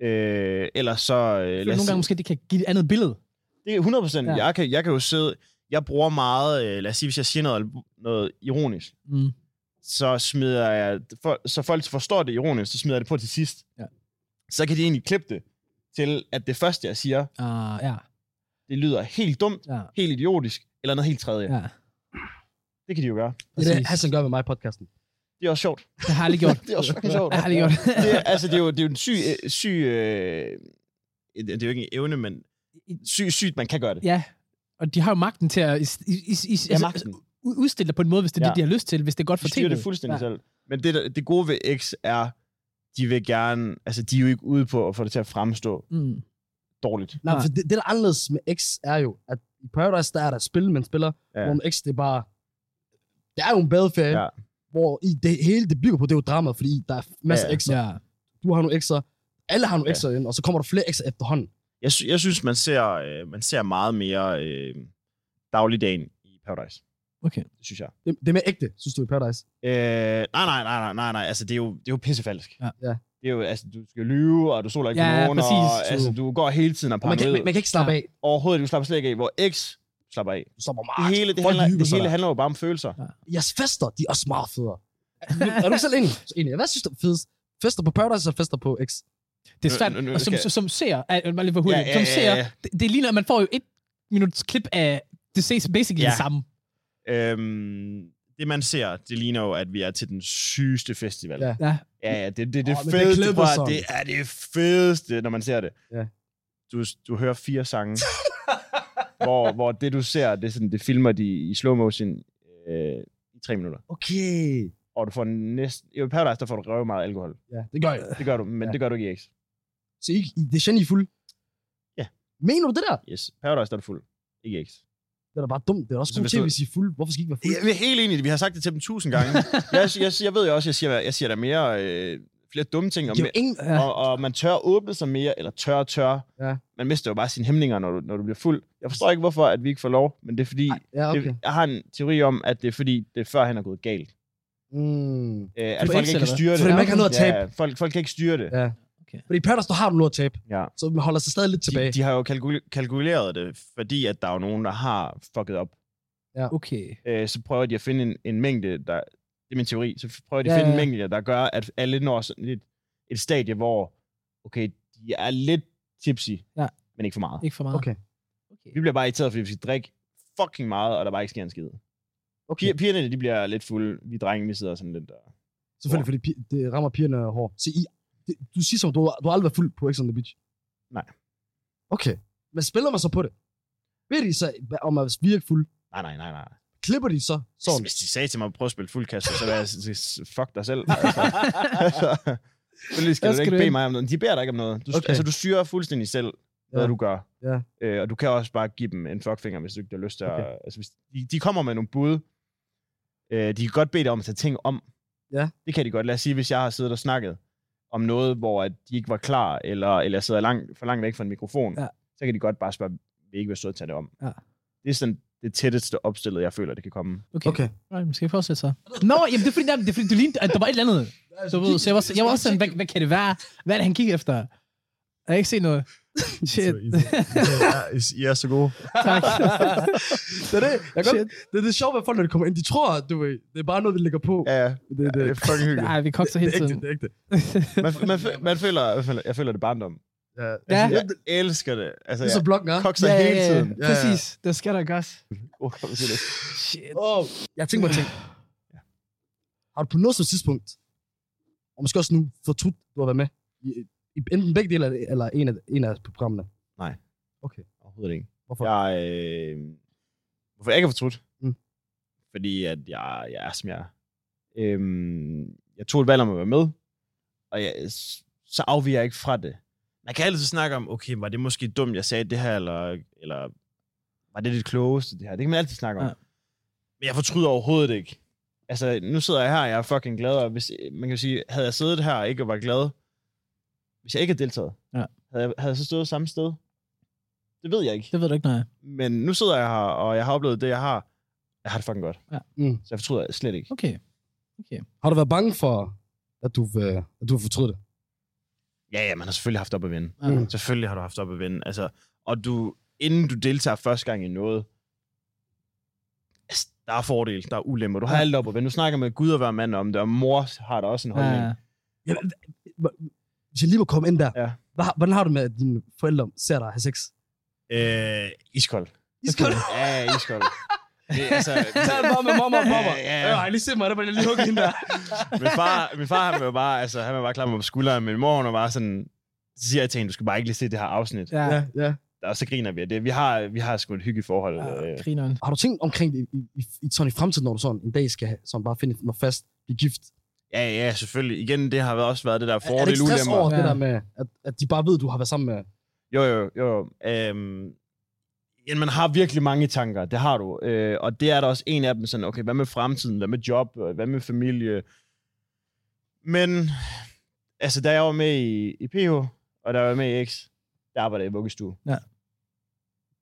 Øh, eller så... Øh,
Men
lad
nogle
os
gange
sige-
måske, det kan give et andet billede.
Det er 100 procent.
Ja.
Ja. Jeg, kan, jeg kan jo sidde... Jeg bruger meget... Øh, lad os sige, hvis jeg siger noget, noget ironisk,
Mm.
så smider jeg... For, så folk forstår det ironisk, så smider jeg det på til sidst.
Ja.
Så kan de egentlig klippe det til, at det første, jeg siger,
Uh, ja,
det lyder helt dumt,
ja,
helt idiotisk, eller noget helt tredje. Ja.
ja.
Det kan de jo gøre.
Det er det,
Præcis.
Hassan gør med mig i podcasten.
Det er også sjovt.
Det har jeg aldrig gjort.
Det er også fucking sjovt.
Jeg har aldrig gjort.
det, er, altså, det er jo, det er jo en syg... øh, syg øh, det det er jo ikke en evne, men syg, sygt, man kan gøre det.
ja, altså, og de har jo magten til at is, is, is, is,
Ja, magten.
u- udstille det på en måde, hvis det er ja.
Ja.
det, de har lyst til, hvis det er godt for
de styrer det
tv'et.
fuldstændig ja. selv. Men det, der- det gode ved X er, de vil gerne, altså de er jo ikke ude på at få det til at fremstå
Mm.
dårligt.
Nej,
Nej.
for det, det, der er anderledes med X, er jo, at i Paradise, der er der et spil, man spiller, ja.
Ja.
hvor med X, det er bare... Det er jo en badeferie, ja.
Ja.
hvor i det hele det bygger på, det er jo drama, fordi der er masser af
Ja.
X'er.
Ja.
Du har nogle X'er, alle har nogle X'er ind, og så kommer der flere X'er efterhånden.
Jeg, sy- jeg synes, man ser, øh, man ser meget mere øh, dagligdagen i Paradise.
Okay.
Det synes jeg.
Det, det er mere ægte, synes du, i Paradise.
Øh, nej, nej, nej, nej, nej, nej, altså det er jo, det er jo pissefalsk.
Ja.
Ja.
Det er jo, altså du skal lyve, og du soler ikke
Ja,
på nogen,
præcis.
og altså, du går hele tiden og
Og man, kan,
paranoid.
man, man kan ikke slappe ja. af.
Overhovedet, du slapper slet ikke af, hvor X slapper af.
Du slapper meget.
Det hele, det
folk
handler,
hygger
det
sig
hele
der.
handler jo bare om følelser.
Jeres fester, de er også meget federe. er du selv enig? Så enig. Hvad synes du er fedest? Fester på Paradise og fester på X?
Det er
Nu-
svært,
nu- nu
og som,
skal-
som, som ser, at, bare lige for hurtigt, ja, ja, ja, ja. som ser, det, det ligner, at man får jo et minuts klip af, det ses basically ja.
Ja.
det samme.
Øhm, det man ser, det ligner jo, at vi er til den sygeste festival.
Ja.
Ja,
Ja,
ja, ja det, det, det,
Åh,
det
men det
fedeste,
klippet
det, prøv,
sådan.
at- det er det fedeste, når man ser det.
Ja.
Du, du hører fire sange, hvor, hvor det du ser, det, er sådan, det filmer de i slow motion øh, i tre minutter.
Okay.
Og du får næsten... I Paradise, der får du røv meget alkohol.
Ja, det gør jeg.
Det gør du, men
Ja.
ja. det gør du ikke i X.
Så I, I det er sjældent, I er fuld?
Ja.
Mener du det der?
Yes. Paradise, der er du fuld. Ikke i X.
Det er da bare dumt. Det er også
Så
god
Altså, hvis
til,
du-
hvis I er fuld. Hvorfor skal I ikke være fuld?
Jeg er helt enig, i det. vi har sagt det til dem tusind gange. jeg, jeg, jeg ved jo også, jeg siger, jeg siger der mere... Øh, flere dumme ting og
Det er jo ingen...
Ja.
ja. og, og man tør åbne sig mere, eller tør og tør.
Ja.
Man mister jo bare sine hæmninger, når du, når du bliver fuld. Jeg forstår ikke, hvorfor at vi ikke får lov, men det er fordi,
Ja, okay.
det, jeg har en teori om, at det er fordi, det før han er gået galt.
Mm.
Øh, at
Fordi
folk
X,
ikke
eller
kan
hvad?
styre det.
Fordi man ikke har noget at tabe.
Ja, folk, folk kan ikke styre det.
Ja. Fordi i Paradise, der har du noget at tabe,
Ja.
så man holder sig stadig lidt tilbage.
De, de har jo kalkul- kalkuleret det, fordi at der er jo nogen, der har fucket op.
okay.
Øh, så prøver de at finde en, en mængde, der... Det er min teori. Så prøver de
Ja,
at finde
ja,
en
ja.
mængde, der gør, at alle når sådan et, et stadie, hvor okay, de er lidt tipsy,
Ja.
men ikke for meget.
Ikke for meget.
Okay.
okay.
Vi bliver bare irriteret, fordi vi skal drikke fucking meget, og der bare ikke sker en skid.
Okay.
Piger, pigerne, de bliver lidt fulde. Vi drenge, vi sidder sådan lidt der.
Selvfølgelig, fordi pi- det rammer pigerne hårdt. Så I, det, du siger som, du, har- du har aldrig været fuld på X on the Beach?
Nej.
Okay. Men spiller man så på det? Ved de så, hva- om man er virkelig fuld?
Nej, nej, nej, nej.
Klipper de så
Sådan.
sådan?
Hvis de sagde til mig, prøv at spille fuldkast, så ville jeg sige, "S- fuck dig selv. Altså. Selvfølgelig skal
Hvad
du
skal
da
du
ikke bede
ind?
mig om noget. De beder dig ikke om noget. Du,
Okay.
okay. Altså, du styrer fuldstændig selv, hvad
Ja.
du gør.
Ja.
Øh, og du kan også bare give dem en fuckfinger, hvis du ikke har lyst til
Okay.
at... Altså, hvis de, de kommer med nogle bud. Øh, de kan godt bede dig om at tage ting om.
Ja.
Det kan de godt. Lad os sige, hvis jeg har siddet og snakket om noget, hvor at de ikke var klar, eller, eller jeg sidder langt, for langt væk fra en mikrofon,
Ja.
så kan de godt bare spørge, vil I ikke være søde at tage det om?
Ja.
Det er sådan det tætteste opstillet, jeg føler, det kan komme.
Okay. okay.
Okay.
Right, måske fortsætte så. Nå, jamen, det er fordi, nej, det er fordi du lignede, at der var et eller andet. Så, ved, så jeg var, jeg var også sådan, hvad, hvad kan det være? Hvad er det, han kigger efter? Jeg har ikke set noget. Shit.
Så Altså, I, I, I, I er så gode.
tak.
Det er det. Jeg kan godt, det, er det sjove ved folk, når de kommer ind. De tror, at du ved, det er bare noget, de lægger på.
Ja, ja.
Det, det,
Det er fucking hyggeligt.
Nej, vi kokser hele
det er ægte,
tiden.
det er ægte.
Man, man, fø- man føler, jeg føler, jeg føler det er barndom.
Ja.
Ja. altså,
Jeg elsker det. Altså,
Det er så
jeg
blokken er.
kokser ja, hele tiden.
ja.
Præcis. Der skal der gøres.
Oh, kom, se det.
Shit.
Åh, jeg tænker på ting. Har du på noget som tidspunkt og måske også nu, fortrudt, du har været med i, i enten begge dele eller, eller en, af, en af programmerne.
Overhovedet ikke.
Hvorfor?
Jeg, øh, hvorfor jeg ikke har fortrudt?
Mm.
Fordi at jeg, jeg er, som jeg er. Øhm, jeg tog et valg om at være med, og jeg, så afviger jeg ikke fra det. Man kan altid snakke om, okay, var det måske dumt, jeg sagde det her, eller, eller var det det klogeste, det her? Det kan man altid snakke om.
Ja.
Ja. Men jeg fortryder overhovedet ikke. Altså, nu sidder jeg her, og jeg er fucking glad, og hvis, man kan jo sige, havde jeg siddet her og ikke var glad, hvis jeg ikke havde deltaget,
Ja.
havde, jeg, havde jeg så stået samme sted? Det ved jeg ikke.
Det ved du ikke, nej.
Men nu sidder jeg her, og jeg har oplevet det, jeg har. Jeg har det fucking godt.
Ja.
Mm.
Så jeg fortryder slet ikke.
Okay.
Har du været bange for, at du, øh, at du har fortrudt det?
Ja, ja, man har selvfølgelig haft op at vinde.
Ja.
Mm.
Selvfølgelig har du haft op at vinde. Altså, og du, inden du deltager første gang i noget, altså, der er fordel, der er ulemper. Du har
Ja.
alt op at vinde. Du snakker med Gud og hver mand om det, og mor har der også en holdning.
Ja.
Ja, hvis jeg lige må komme ind der.
Ja.
Hvad, har- hvordan har du med, at dine forældre ser dig have sex?
Øh, iskold.
I skal okay.
Ja, ja, iskold. Det, er altså,
bare med mamma og pappa.
Ja, ja, ja.
Øh, har I lige set mig, der var jeg lige hugget hende der.
min far, min far han var jo bare, altså, han var bare klar på skulderen, men mor, hun var bare sådan, så siger jeg til hende, du skal bare ikke lige se det her afsnit.
Ja.
ja, ja.
og så griner vi af det. Vi har, vi har sgu et hyggeligt forhold. øh.
ja.
Ja.
Grineren.
Har du tænkt omkring det i, i, i, sådan i fremtiden, når du sådan en dag skal have- sådan bare finde noget fast, blive gift?
ja, ja, selvfølgelig. Igen, det har også været det der
er det
fordel
ikke stress
ulemmer.
over det
Ja.
der med, at, at de bare ved, at du har været sammen med...
Jo, jo, jo. jo. Øhm, ja, man har virkelig mange tanker, det har du. Øh, og det er der også en af dem, sådan, okay, hvad med fremtiden, hvad med job, Øh, hvad med familie? Men, altså, da jeg var med i, i PH, og da jeg var med i X, der arbejdede jeg i vuggestue.
Ja.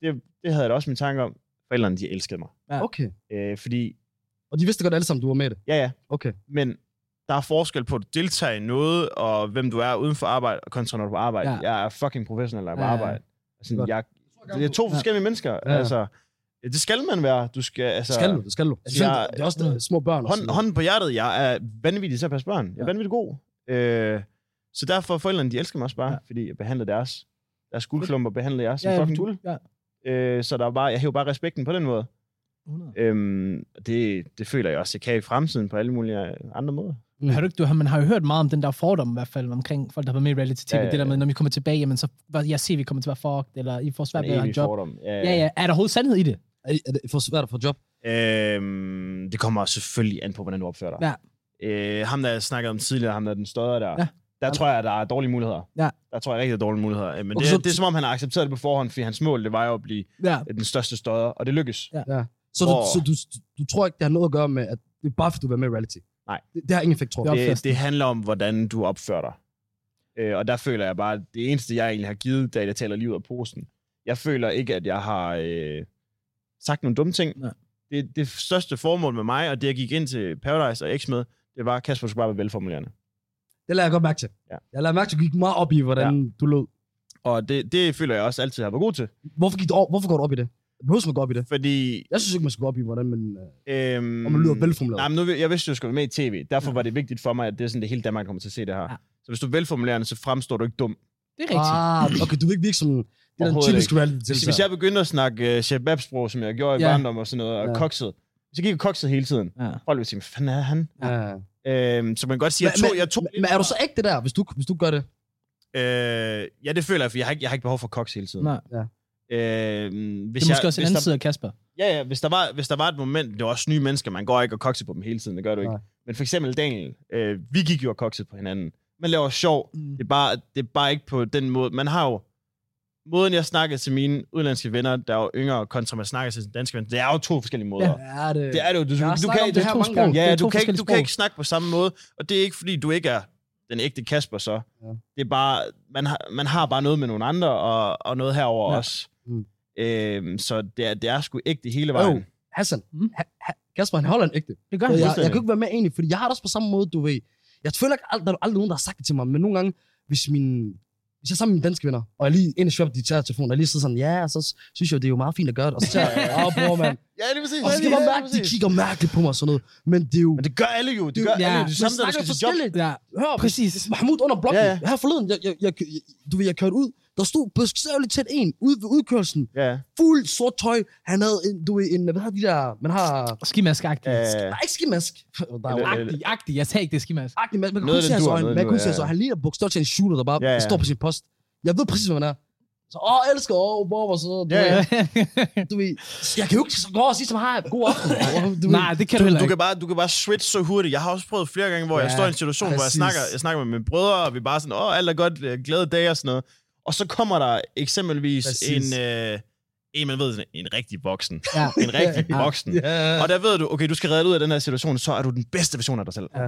Det, det havde jeg da også mine tanker om. Forældrene, de elskede mig.
Ja.
Okay.
Øh, fordi,
Og de vidste godt alle sammen, du var med i det.
ja, ja,
Okay.
men der er forskel på at deltage i noget, og hvem du er uden for arbejde, og kontra når du er på arbejde.
Ja.
Ja. Jeg er fucking professionel, når jeg
Ja, ja,
er på
ja.
arbejde. Altså,
Godt.
jeg, det er to
Ja.
forskellige mennesker.
Ja.
Ja. Altså, det skal man være. Du skal, altså,
Det skal du, det skal du.
Altså,
Specielt,
jeg-
det er også der, små børn. og sådan
Hånd,
noget.
hånden på hjertet, jeg er vanvittig til at passe børn. Jeg er
Ja.
vanvittig god. Øh, så derfor, forældrene, de elsker mig også bare,
Ja.
ja. fordi jeg behandler deres, deres guldklumper, behandler jeg som
Ja,
ja,
ja,
fucking
du-
guld.
ja.
Øh, så der er bare, jeg hæver bare respekten på den måde.
100.
Øhm, og det, det føler jeg også, jeg kan i fremtiden på alle mulige andre måder.
Har du ikke, du, har- man har jo hørt meget om den der fordom i hvert fald, omkring folk, der har været med i reality-tv,
Ja, ja,
det der
ja.
med, når vi kommer tilbage, jamen, så jeg ser, vi kommer til at være fucked, eller I får svært
Den
ved at have
evige
en job.
fordom.
Ja, ja. Er der overhovedet sandhed i det?
Er, er det for svært at få job?
Øhm, det kommer selvfølgelig an på, hvordan du opfører dig. Ja. Øh, ham, der jeg snakkede om tidligere, ham der er den større der,
Ja.
ja. der tror jeg, der er dårlige muligheder.
Ja.
Der tror jeg rigtig, der er dårlige muligheder. Øh, Men
Okay,
okay, det,
så-
er, det er som om, han har accepteret det på forhånd, fordi hans mål, det var jo at blive
Ja.
den største støder, og det lykkes.
Ja.
Så, du,
Åh.
så du, du, tror ikke, det har noget at gøre med, at det er bare fordi, du var med i reality?
Nej.
Det, det har ingen effekt, tror jeg.
Ja.
Det,
opførsel.
det handler om, hvordan du opfører dig. Øh, og der føler jeg bare, at det eneste, jeg egentlig har givet, da jeg taler lige ud af posen, jeg føler ikke, at jeg har øh, sagt nogle dumme ting.
Nej.
Det, det største formål med mig, og det jeg gik ind til Paradise og X med, det var, Kasper, du skal bare være velformulerende.
Det lader jeg godt mærke til.
Ja.
Jeg lader mærke til, at du gik meget op i, hvordan du lød.
Og det, det føler jeg også altid, at jeg har været god til.
Hvorfor, gik du, over- hvorfor går du op i det? Behøver man gå op i det?
Fordi...
Jeg synes ikke, man skal gå op i, hvordan man, øh,
Øhm,
om man lyder velformuleret.
Nej, men nu, jeg vidste, at jeg skulle være med i tv. Derfor
Ja.
var det vigtigt for mig, at det er sådan, det hele Danmark kommer til at se det her.
Ja.
Så hvis du er velformulerende, så fremstår du ikke dum.
Det er rigtigt.
Ah, okay, du vil ikke virke som det er den
Overhovedet Altså,
typiske reality
Hvis, hvis jeg begyndte at snakke uh, chef sprog som jeg gjorde i
Ja.
ja. barndom og sådan noget, og
Ja.
ja. kokset, så gik jeg kokset hele tiden.
Ja.
Folk ville sige, hvad fanden er han?
Ja.
Øhm, så man kan godt sige, at jeg
Men-
tog... Jeg tog
Men er du så ægte der, hvis du, hvis du gør det?
øh, ja, det føler jeg, for jeg har ikke, jeg har ikke behov for koks hele tiden.
Nej.
Ja.
Øhm, hvis
Det er måske også
jeg,
en
hvis
anden
der,
side af Kasper.
Ja, ja, hvis der, var, hvis der var et moment, det var også nye mennesker, man går ikke og kokser på dem hele tiden, det gør du ikke.
Nej.
Nej. Men for eksempel Daniel, øh, vi gik jo og koksede på hinanden. Man laver sjov,
Mm.
det er, bare, det er bare ikke på den måde. Man har jo, måden jeg snakker til mine udenlandske venner, der er jo yngre, kontra man snakker til danske venner, det er jo to forskellige måder. Ja.
Ja, det,
Det er det jo. Du,
Jeg har
du,
snakket om det
kan, du,
her
to
mange
sprog.
gange.
Det er
ja,
to
du, kan, ikke, du
forskellige
kan
sprog.
ikke snakke på samme måde, og det er ikke fordi, du ikke er den ægte Kasper så.
Ja.
Ja. Det er bare, man har, man har bare noget med nogle andre, og, og noget herover
Ja.
ja. også.
Mm.
Øhm, så det er, det er sgu ægte hele
Jo,
vejen.
Hassan.
Mm.
Ha, ha, Kasper, han holder en ægte.
Det gør
Jeg,
han.
jeg, jeg
fuldstændig.
kan ikke være med egentlig, fordi jeg har det også på samme måde, du ved. Jeg føler ikke, alt- der er aldrig nogen, der har sagt det til mig, men nogle gange, hvis min hvis jeg er sammen med mine danske venner, og jeg lige ind i shop, de tager telefonen, og jeg lige sidder sådan, ja, så s- synes jeg, det er jo meget fint at gøre det, og så tager jeg, åh, bror, mand.
Ja, lige præcis.
Og så kan man mærke, de kigger mærkeligt på mig og sådan noget, men det er jo...
Men det gør alle jo. Det gør
Ja.
alle jo. Det er
Man
samme, der
snakker
skal til job.
forskelligt.
Ja,
Hør,
præcis.
Mahmoud under blokken,
Ja,
her forleden, jeg, jeg, jeg, jeg, du ved, jeg kørte ud, Der stod beskriveligt tæt en ude ved udkørselen.
Ja,
Fuld sort tøj. Han havde en, du ved, en, hvad hedder de der, man har...
Skimask-agtig.
ja.
Der er ikke skimask. Der er jo
Eller-
Agtig, agtig. Jeg sagde ikke, det er skimask.
agtig, man, man kan
Noget
kun
af
se
den
hans
dur,
øjne.
noget af
Man
den
kan kun
dur,
se
ja.
hans øjne. Han ligner bogstaveligt til en shooter, der bare
Ja,
ja,
ja.
ja. står på sin post. Jeg ved præcis, hvad han er. Så, åh, jeg elsker, åh, hvor var så, du,
Ja,
ja,
ja.
ja. du ved, jeg kan jo ikke gå over og sige til mig, hej, god aften. Du ved,
Nej, det kan du, heller
Du
ikke.
kan, bare, du kan bare switch så hurtigt. Jeg har også prøvet flere gange, hvor ja, jeg
Ja,
står i en situation, præcis. hvor jeg
præcis.
snakker, jeg snakker med mine brødre, og vi er bare sådan, åh, alt er godt, øh, glade dage og sådan noget. Og så kommer der eksempelvis
Præcis.
en, øh, en, man ved, sådan, en rigtig voksen.
Ja.
En rigtig
Ja.
voksen.
Ja,
Og der ved du, okay, du skal redde dig ud af den her situation, så er du den bedste version af dig selv.
Ja.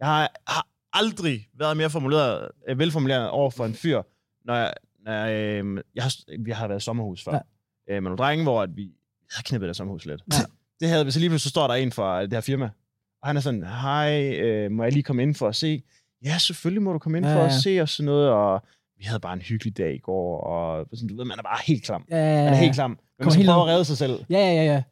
Jeg har, har aldrig været mere formuleret, øh, velformuleret over for en fyr, når jeg, når jeg, øh, jeg har, vi har været i sommerhus før. Ja.
Ja.
Øh, med nogle drenge, hvor at vi vi havde knippet det sommerhus lidt. Ja.
Ja.
Det havde vi, så lige pludselig så står der en fra det her firma, og han er sådan, hej, øh, må jeg lige komme ind for at se? Ja, selvfølgelig må du komme ind ja,
Ja,
for at
ja.
se og sådan noget, og vi havde bare en hyggelig dag i går, og sådan, du ved, man er bare helt klam.
Ja, ja,
Man er
ja.
helt klam. Men man
Kom
skal
helt
prøve at
ned.
redde sig selv.
Ja, ja, ja, ja.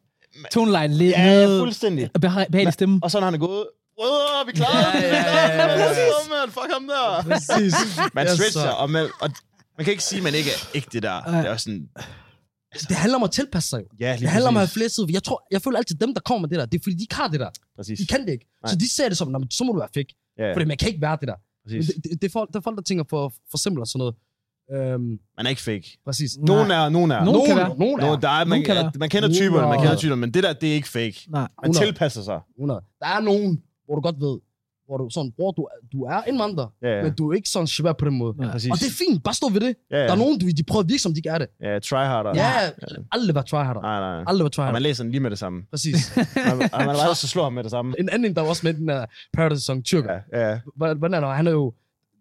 Tonelejen lidt
Ja,
ned.
ja, fuldstændig.
Og beha- behagelig stemme.
Og så når han er gået, Brødre, vi klarer
Ja,
den, vi
ja,
klarer
ja, ja,
den,
ja.
Fuck ham, man, fuck ham der.
præcis.
Man
Ja,
switcher,
så-
og man, og man kan ikke sige, at man ikke er ægte det der.
Ja.
Det er også sådan,
Det handler om at tilpasse sig. jo.
ja, lige
Det handler om at
præcis.
have flere sider. Jeg, tror, jeg føler altid, dem, der kommer med det der, det er fordi, de ikke har det der.
Præcis.
De kan det ikke. Så
Nej.
de ser det som, "Nå, men så må du være fik.
Ja,
Fordi man kan ikke være det der. Men
præcis.
Det, det, det, er folk, det er folk, der tænker for, for simpelt og sådan noget. Øhm,
Man er ikke fake.
præcis.
Nogen er, nogen er.
Nogen kan være.
Nogen er.
Nogen, der er, man,
Nogen kan være.
man kender typerne, man
Nogen
kender
er.
typerne, men det der, det er ikke fake.
Nej.
Man
Hundrede.
tilpasser sig.
100. Der er nogen, hvor du godt ved, hvor du sådan, bror, du, du er indvandrer,
Ja,
ja.
ja.
men du er ikke sådan shabab på den måde.
Ja,
ja præcis.
Og det er fint, bare stå ved det.
ja,
Ja.
ja.
Der er nogen, du, de prøver at virke som, de ikke er det.
ja, tryharder.
Ja, aldrig være tryharder.
Nej, nej.
Aldrig være
Og
tryharder.
man læser den lige med det samme.
Præcis.
Man, og man er bare så slår ham med det samme.
en anden, der var også med i den der Paradise Song, Tyrker.
Ja, ja,
Hvordan- Hvordan er det? Han er jo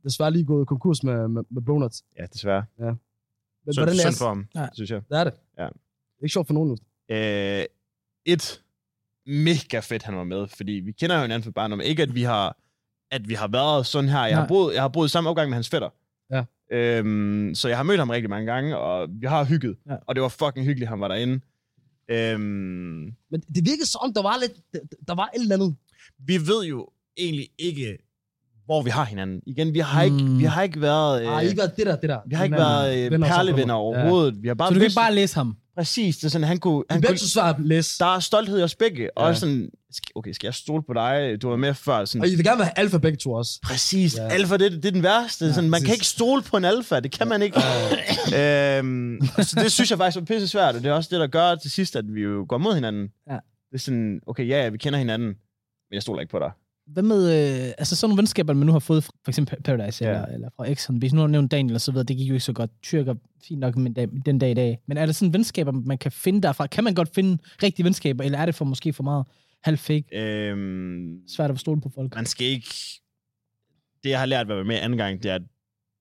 desværre lige gået konkurs med, med, med Donuts.
ja desværre.
Men
Synd,
hvordan er
synd for ham,
Ja.
synes jeg.
Det er det.
Ja.
Det er ikke sjovt for nogen. jo.
Øh, et, mega fedt, han var med, fordi vi kender jo hinanden fra barndom. Ikke, at vi har, at vi har været sådan her. Jeg har,
Nej.
boet, jeg har boet i samme opgang med hans fætter.
Ja.
Øhm, så jeg har mødt ham rigtig mange gange, og vi har hygget.
Ja.
Og det var fucking hyggeligt, han var derinde. Øhm,
Men det virkede som om, der var lidt, der, der var et eller andet.
vi ved jo egentlig ikke, hvor vi har hinanden. Igen, vi har ikke,
Mm.
vi har ikke været... Øh,
Ej, ikke været det der, det der.
vi har ikke
Hinanden.
været øh,
venner og
perlevenner
samfundet. Ja.
overhovedet. Vi har bare
Så du kan
vidst-
ikke bare læse ham.
Præcis, det er sådan, han kunne...
Det
Han
er
kunne
altid svært at læse.
der er stolthed i os begge. Ja. Og
Ja.
sådan, sk- okay, skal jeg stole på dig? Du var med før. Sådan,
Og I vil gerne være alfa begge to også.
Præcis. Ja.
Ja.
Alfa, det, det er den værste. Ja,
Ja,
sådan, man kan
præcis.
ikke stole på en alfa. Det kan man ikke. øhm, så det synes jeg faktisk var pisse svært. Og det er også det, der gør til sidst, at vi jo går mod hinanden.
Ja.
Det er sådan, okay, ja, ja, vi kender hinanden, men jeg stoler ikke på dig.
Hvad med øh, altså sådan nogle venskaber, man nu har fået fra for eksempel Paradise
Ja.
ja. eller, eller fra Exxon? Hvis nu har du nævnt Daniel og så videre, det gik jo ikke så godt. Tyrker, fint nok men dag, den dag i dag. Men er der sådan venskaber, man kan finde derfra? Kan man godt finde rigtige venskaber, eller er det for måske for meget halv fake?
Øhm,
Svært at stole på folk.
man skal ikke... Det, jeg har lært ved at være med anden gang, det er, at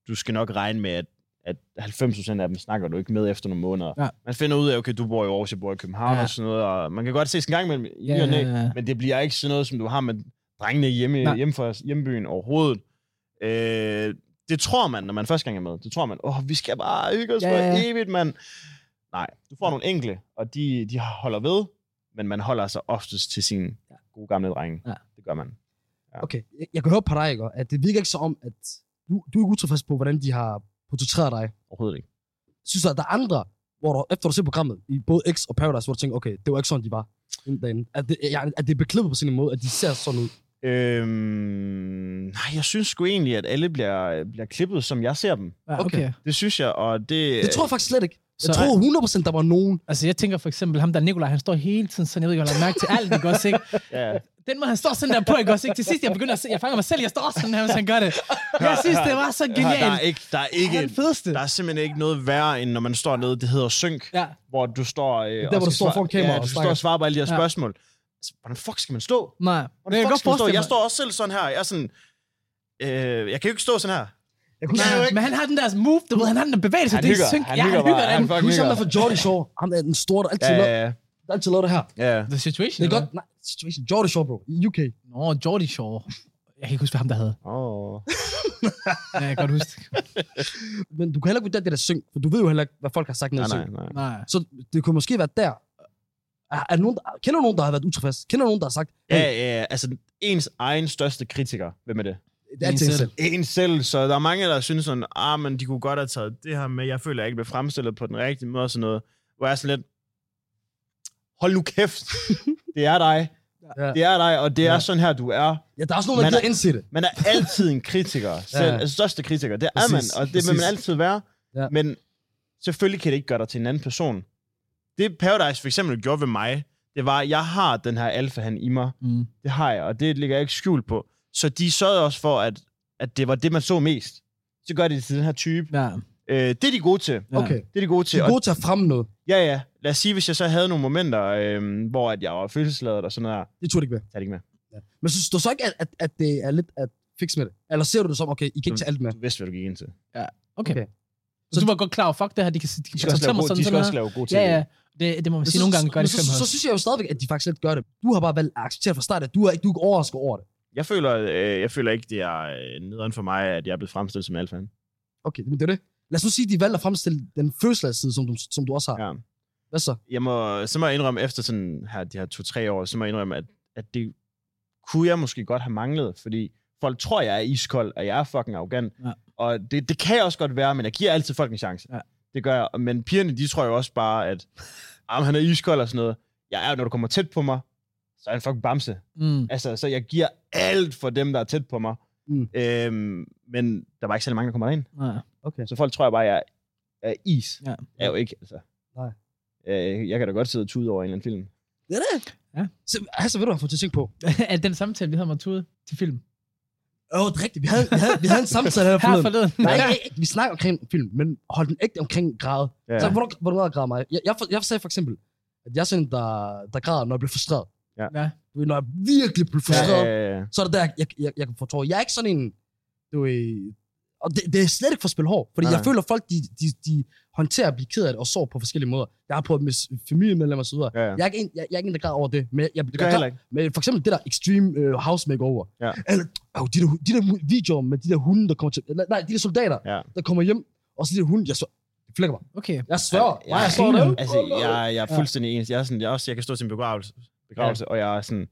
du skal nok regne med, at at 90% af dem snakker du ikke med efter nogle måneder.
Ja.
Man finder ud af, okay, du bor i Aarhus, jeg bor i København ja.
Ja.
og sådan noget, og man kan godt ses en gang imellem i
Ja,
ja, ja,
ja, ja.
men det bliver ikke sådan noget, som du har med drengene hjemme,
Nej.
hjemme fra hjembyen overhovedet. Øh, det tror man, når man første gang er med. Det tror man, åh, vi skal bare hygge os ja,
Ja,
for
ja, ja.
evigt, mand. Nej, du får nogle enkle, og de, de holder ved, men man holder sig oftest til sine gode gamle drenge.
Ja.
Det gør man.
Okay, jeg, jeg kan høre på dig, ikke? at det virker ikke så om, at du, du er ikke utilfreds på, hvordan de har portrætteret dig.
Overhovedet ikke.
Synes du, at der er andre, hvor du, efter du ser programmet, i både X og Paradise, hvor du tænker, okay, det var ikke sådan, de var inden derinde. At det, jeg, at det er beklippet på sin måde, at de ser sådan ud.
Øhm, nej, jeg synes sgu egentlig, at alle bliver, bliver klippet, som jeg ser dem.
Ja,
okay.
Det synes jeg, og det...
Det tror jeg faktisk slet ikke. Jeg
Så-
tror 100% der var nogen.
Altså, jeg tænker for eksempel ham der Nikolaj, han står hele tiden sådan, jeg ved ikke, om han har mærke til alt, ikke også, ikke?
Ja,
Den måde, han står sådan der på, ikke også, ikke? Til sidst, jeg begynder at se, jeg fanger mig selv, jeg står sådan her, hvis han gør det. Jeg synes, det var så
der, er
genialt.
ikke, der er
Han er
ikke
den fedeste.
Der er simpelthen ikke noget værre, end når man står nede, det hedder synk,
Ja.
hvor du står... Øh,
hvor du står foran kameraet
ja,
og
du står
snakker.
og svarer på alle de her
Ja.
spørgsmål. Altså, Hvordan fuck skal man stå?
Nej,
Hvordan
jeg kan
fuck
godt
skal man stå?
forestille
Jeg
mig.
står også selv sådan her. Jeg er sådan... Øh, jeg kan jo ikke stå sådan her.
Jeg kunne
Nej,
huske,
jo
Ja,
ikke.
men han har den der move, du ved, han har den der bevægelse,
Han
det
hygger,
er synk.
han
ja,
hygger
han hygger
bare,
den.
han fucking
jeg husker ham
hygger.
der fra Jordy Shore. Ham der er den store, der altid, ja,
ja.
Der altid lavede det her.
ja.
The situation.
Det er godt. Nej, situation. Jordy Shore, bro. I UK.
Nå, Jordi Shaw. Jeg kan ikke huske, hvad ham der havde.
Oh.
Ja, jeg kan godt huske.
Men du kan heller ikke vurdere det der syng, for du ved jo heller ikke, hvad folk har sagt ned
Nej,
i syng.
nej, nej.
Nej.
Så det kunne måske være der. Er, er der nogen, der, kender du nogen, der har været utilfreds? Kender du nogen, der har sagt,
Ja, ja, ja, altså ens egen største kritiker. Hvem er det?
Det er
En
til en
selv.
selv.
en selv, så der er mange, der synes sådan, ah, men de kunne godt have taget det her med, jeg føler, jeg ikke blev fremstillet på den rigtige måde og sådan noget. Hvor jeg er sådan lidt, hold nu kæft, det er dig,
Ja.
det er dig, og det er
Ja.
sådan her, du er.
Ja, der er også nogen, der
Man er-
gider indse det.
Man er altid en kritiker, selv,
Ja.
ja. største kritiker, det er
Præcis,
man, og det vil
præcis.
man altid være.
Ja.
Ja. Men selvfølgelig kan det ikke gøre dig til en anden person. Det Paradise for eksempel gjorde ved mig, det var, at jeg har den her alfa han i mig,
Mm.
det har jeg, og det ligger jeg ikke skjult på. Så de sørgede også for, at, at det var det, man så mest. Så gør de det til den her type.
Ja.
Øh, det er de gode til.
Ja.
Okay.
Det er de gode
De
til.
er
Og,
gode til at fremme noget.
ja, ja. Lad os sige, hvis jeg så havde nogle momenter, øh, hvor at jeg var følelsesladet og sådan noget der.
Det tog det ikke med.
Tag det ikke med.
Men synes du så ikke, at, at, at det er lidt at fix med det? Eller ser du det som, okay, I kan ikke
Mm.
tage alt med?
Du vidste, hvad du gik ind til.
Okay.
Okay.
okay. Så du var godt klar over, fuck det her, de kan, de
De
kan
skal også
fortælle Altså,
lave,
mig
gode,
sådan
de skal
sådan
også
her.
lave gode ting.
Ja, ja. Det, det må man
Men
sige
så-
nogle gange,
så-
gør det
men så,
fandme
så, så,
også.
synes jeg jo stadigvæk, at de faktisk lidt gør det. Du har bare valgt at acceptere fra start, at du er ikke, du er ikke overrasket over det.
Jeg føler, øh, jeg føler ikke, det er øh, nederen for mig, at jeg er blevet fremstillet som alfa.
Okay, men det er det. Lad os nu sige, at de valgte at fremstille den følelsesside, som du, som du også har.
Ja.
Hvad så?
Jeg må, så må jeg indrømme, efter sådan her, de her to-tre år, så må jeg indrømme, at, at det kunne jeg måske godt have manglet, fordi folk tror, jeg er iskold, og jeg er fucking arrogant.
Ja.
Og det, det kan jeg også godt være, men jeg giver altid folk en chance.
Ja.
Det gør jeg. Men pigerne, de tror jo også bare, at ah, men han er iskold og sådan noget. Jeg er, når du kommer tæt på mig, så er han fucking bamse.
Mm.
Altså, så jeg giver alt for dem, der er tæt på mig.
Mm.
Øhm, men der var ikke særlig mange, der kommer derind.
Ja.
Okay.
Så folk tror jeg bare, jeg er, er is.
Ja.
Jeg er jo ikke, altså.
Nej.
Øh, jeg kan da godt sidde og tude over en eller anden film.
Det er det.
Ja.
Så, altså, ved du, hvad jeg får til at tænke på?
at den samtale, vi havde med Tude til film.
Åh, oh, det er rigtigt. Vi havde, vi havde, vi havde en samtale her
Her
forleden.
forleden.
Nej, ikke, ikke, vi snakker omkring film, men hold den ægte omkring grad. Ja. Så hvornår, hvornår jeg græder mig? Jeg, jeg, for- jeg sagde for eksempel, at jeg er sådan en, der, der græder, når jeg bliver frustreret.
Ja.
Ja.
Du ved, Når jeg virkelig bliver frustreret, ja, ja,
ja, ja.
ja. så er det der, jeg, jeg, jeg kan få tårer. Jeg er ikke sådan en, du ved, og det, det er slet ikke for at spille hård, fordi
Nej,
jeg
nej.
føler, at folk de, de, de håndterer at blive ked af det og sover på forskellige måder. Jeg har prøvet med s- familiemedlemmer og så videre.
ja, ja.
Jeg er, ikke en, jeg, jeg er ikke en, der græder over det, men jeg, jeg,
Det
jeg,
gør jeg
jeg
heller ikke.
men for eksempel det der Extreme uh, House Makeover.
Ja.
Eller, oh, de, der, hu- de der mu- videoer med de der hunde, der kommer til... eller Nej, de der soldater,
Ja.
der kommer hjem, og så de der hunde, jeg så... Det flækker mig.
Okay.
Jeg sværger. Ja, jeg står derude.
Altså, jeg, jeg er fuldstændig enig. Jeg, er sådan, jeg, er også, jeg kan stå til en begravelse, begravelse og jeg er sådan...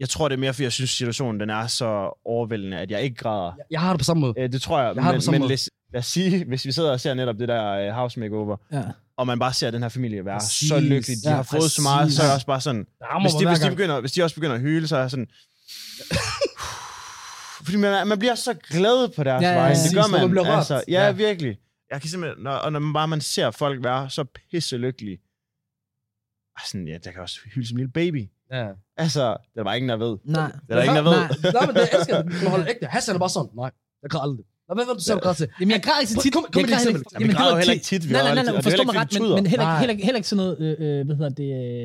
Jeg tror, det er mere, fordi jeg synes, situationen den er så overvældende, at jeg ikke græder.
Jeg- Jeg har det på samme måde.
Øh, det tror jeg,
Jeg har det på
men,
samme
men
måde.
lad, lad os sige, hvis vi sidder og ser netop det der øh, house makeover,
Ja.
og man bare ser den her familie være
Præcis.
så lykkelig, de
Ja,
har fået så meget,
præcis.
så er jeg også bare sådan,
Jeg rammer
hvis
mig
de,
hver
hvis, de
gang.
begynder, hvis de også begynder at hyle, så er jeg sådan... Fordi man, man bliver så glad på deres
Ja, ja,
vej.
præcis,
Det gør
når man
man.
bliver rørt.
altså, ja,
Ja.
ja, virkelig. Jeg kan simpelthen... Når, og når man bare man ser folk være så pisse lykkelige. Og sådan, ja, der kan også hylde som en lille baby.
Ja.
Altså, der er bare ingen, der ved.
Nej.
Der er der ingen, der ved.
Nej.
Nej, men det jeg elsker det. Man holder ægte. Hassan er bare sådan. Nej, jeg græder aldrig. Nå, hvad var det, du selv græder til?
Jamen, jeg græder ikke så
Kom-
tit.
kom- kom
jeg
med et
heller
eksempel.
ikke-
Jamen, vi græder jo
heller
heller
ikke
ikke tit. Vi
Nej, nej,
græder
nej,
altid,
nej,
og det er
forstå
heller
mig
ikke,
ret,
fordi vi
men,
tuder.
men heller, ikke,
Nej.
heller, ikke- heller ikke sådan noget, øh, øh, hvad hedder det, øh,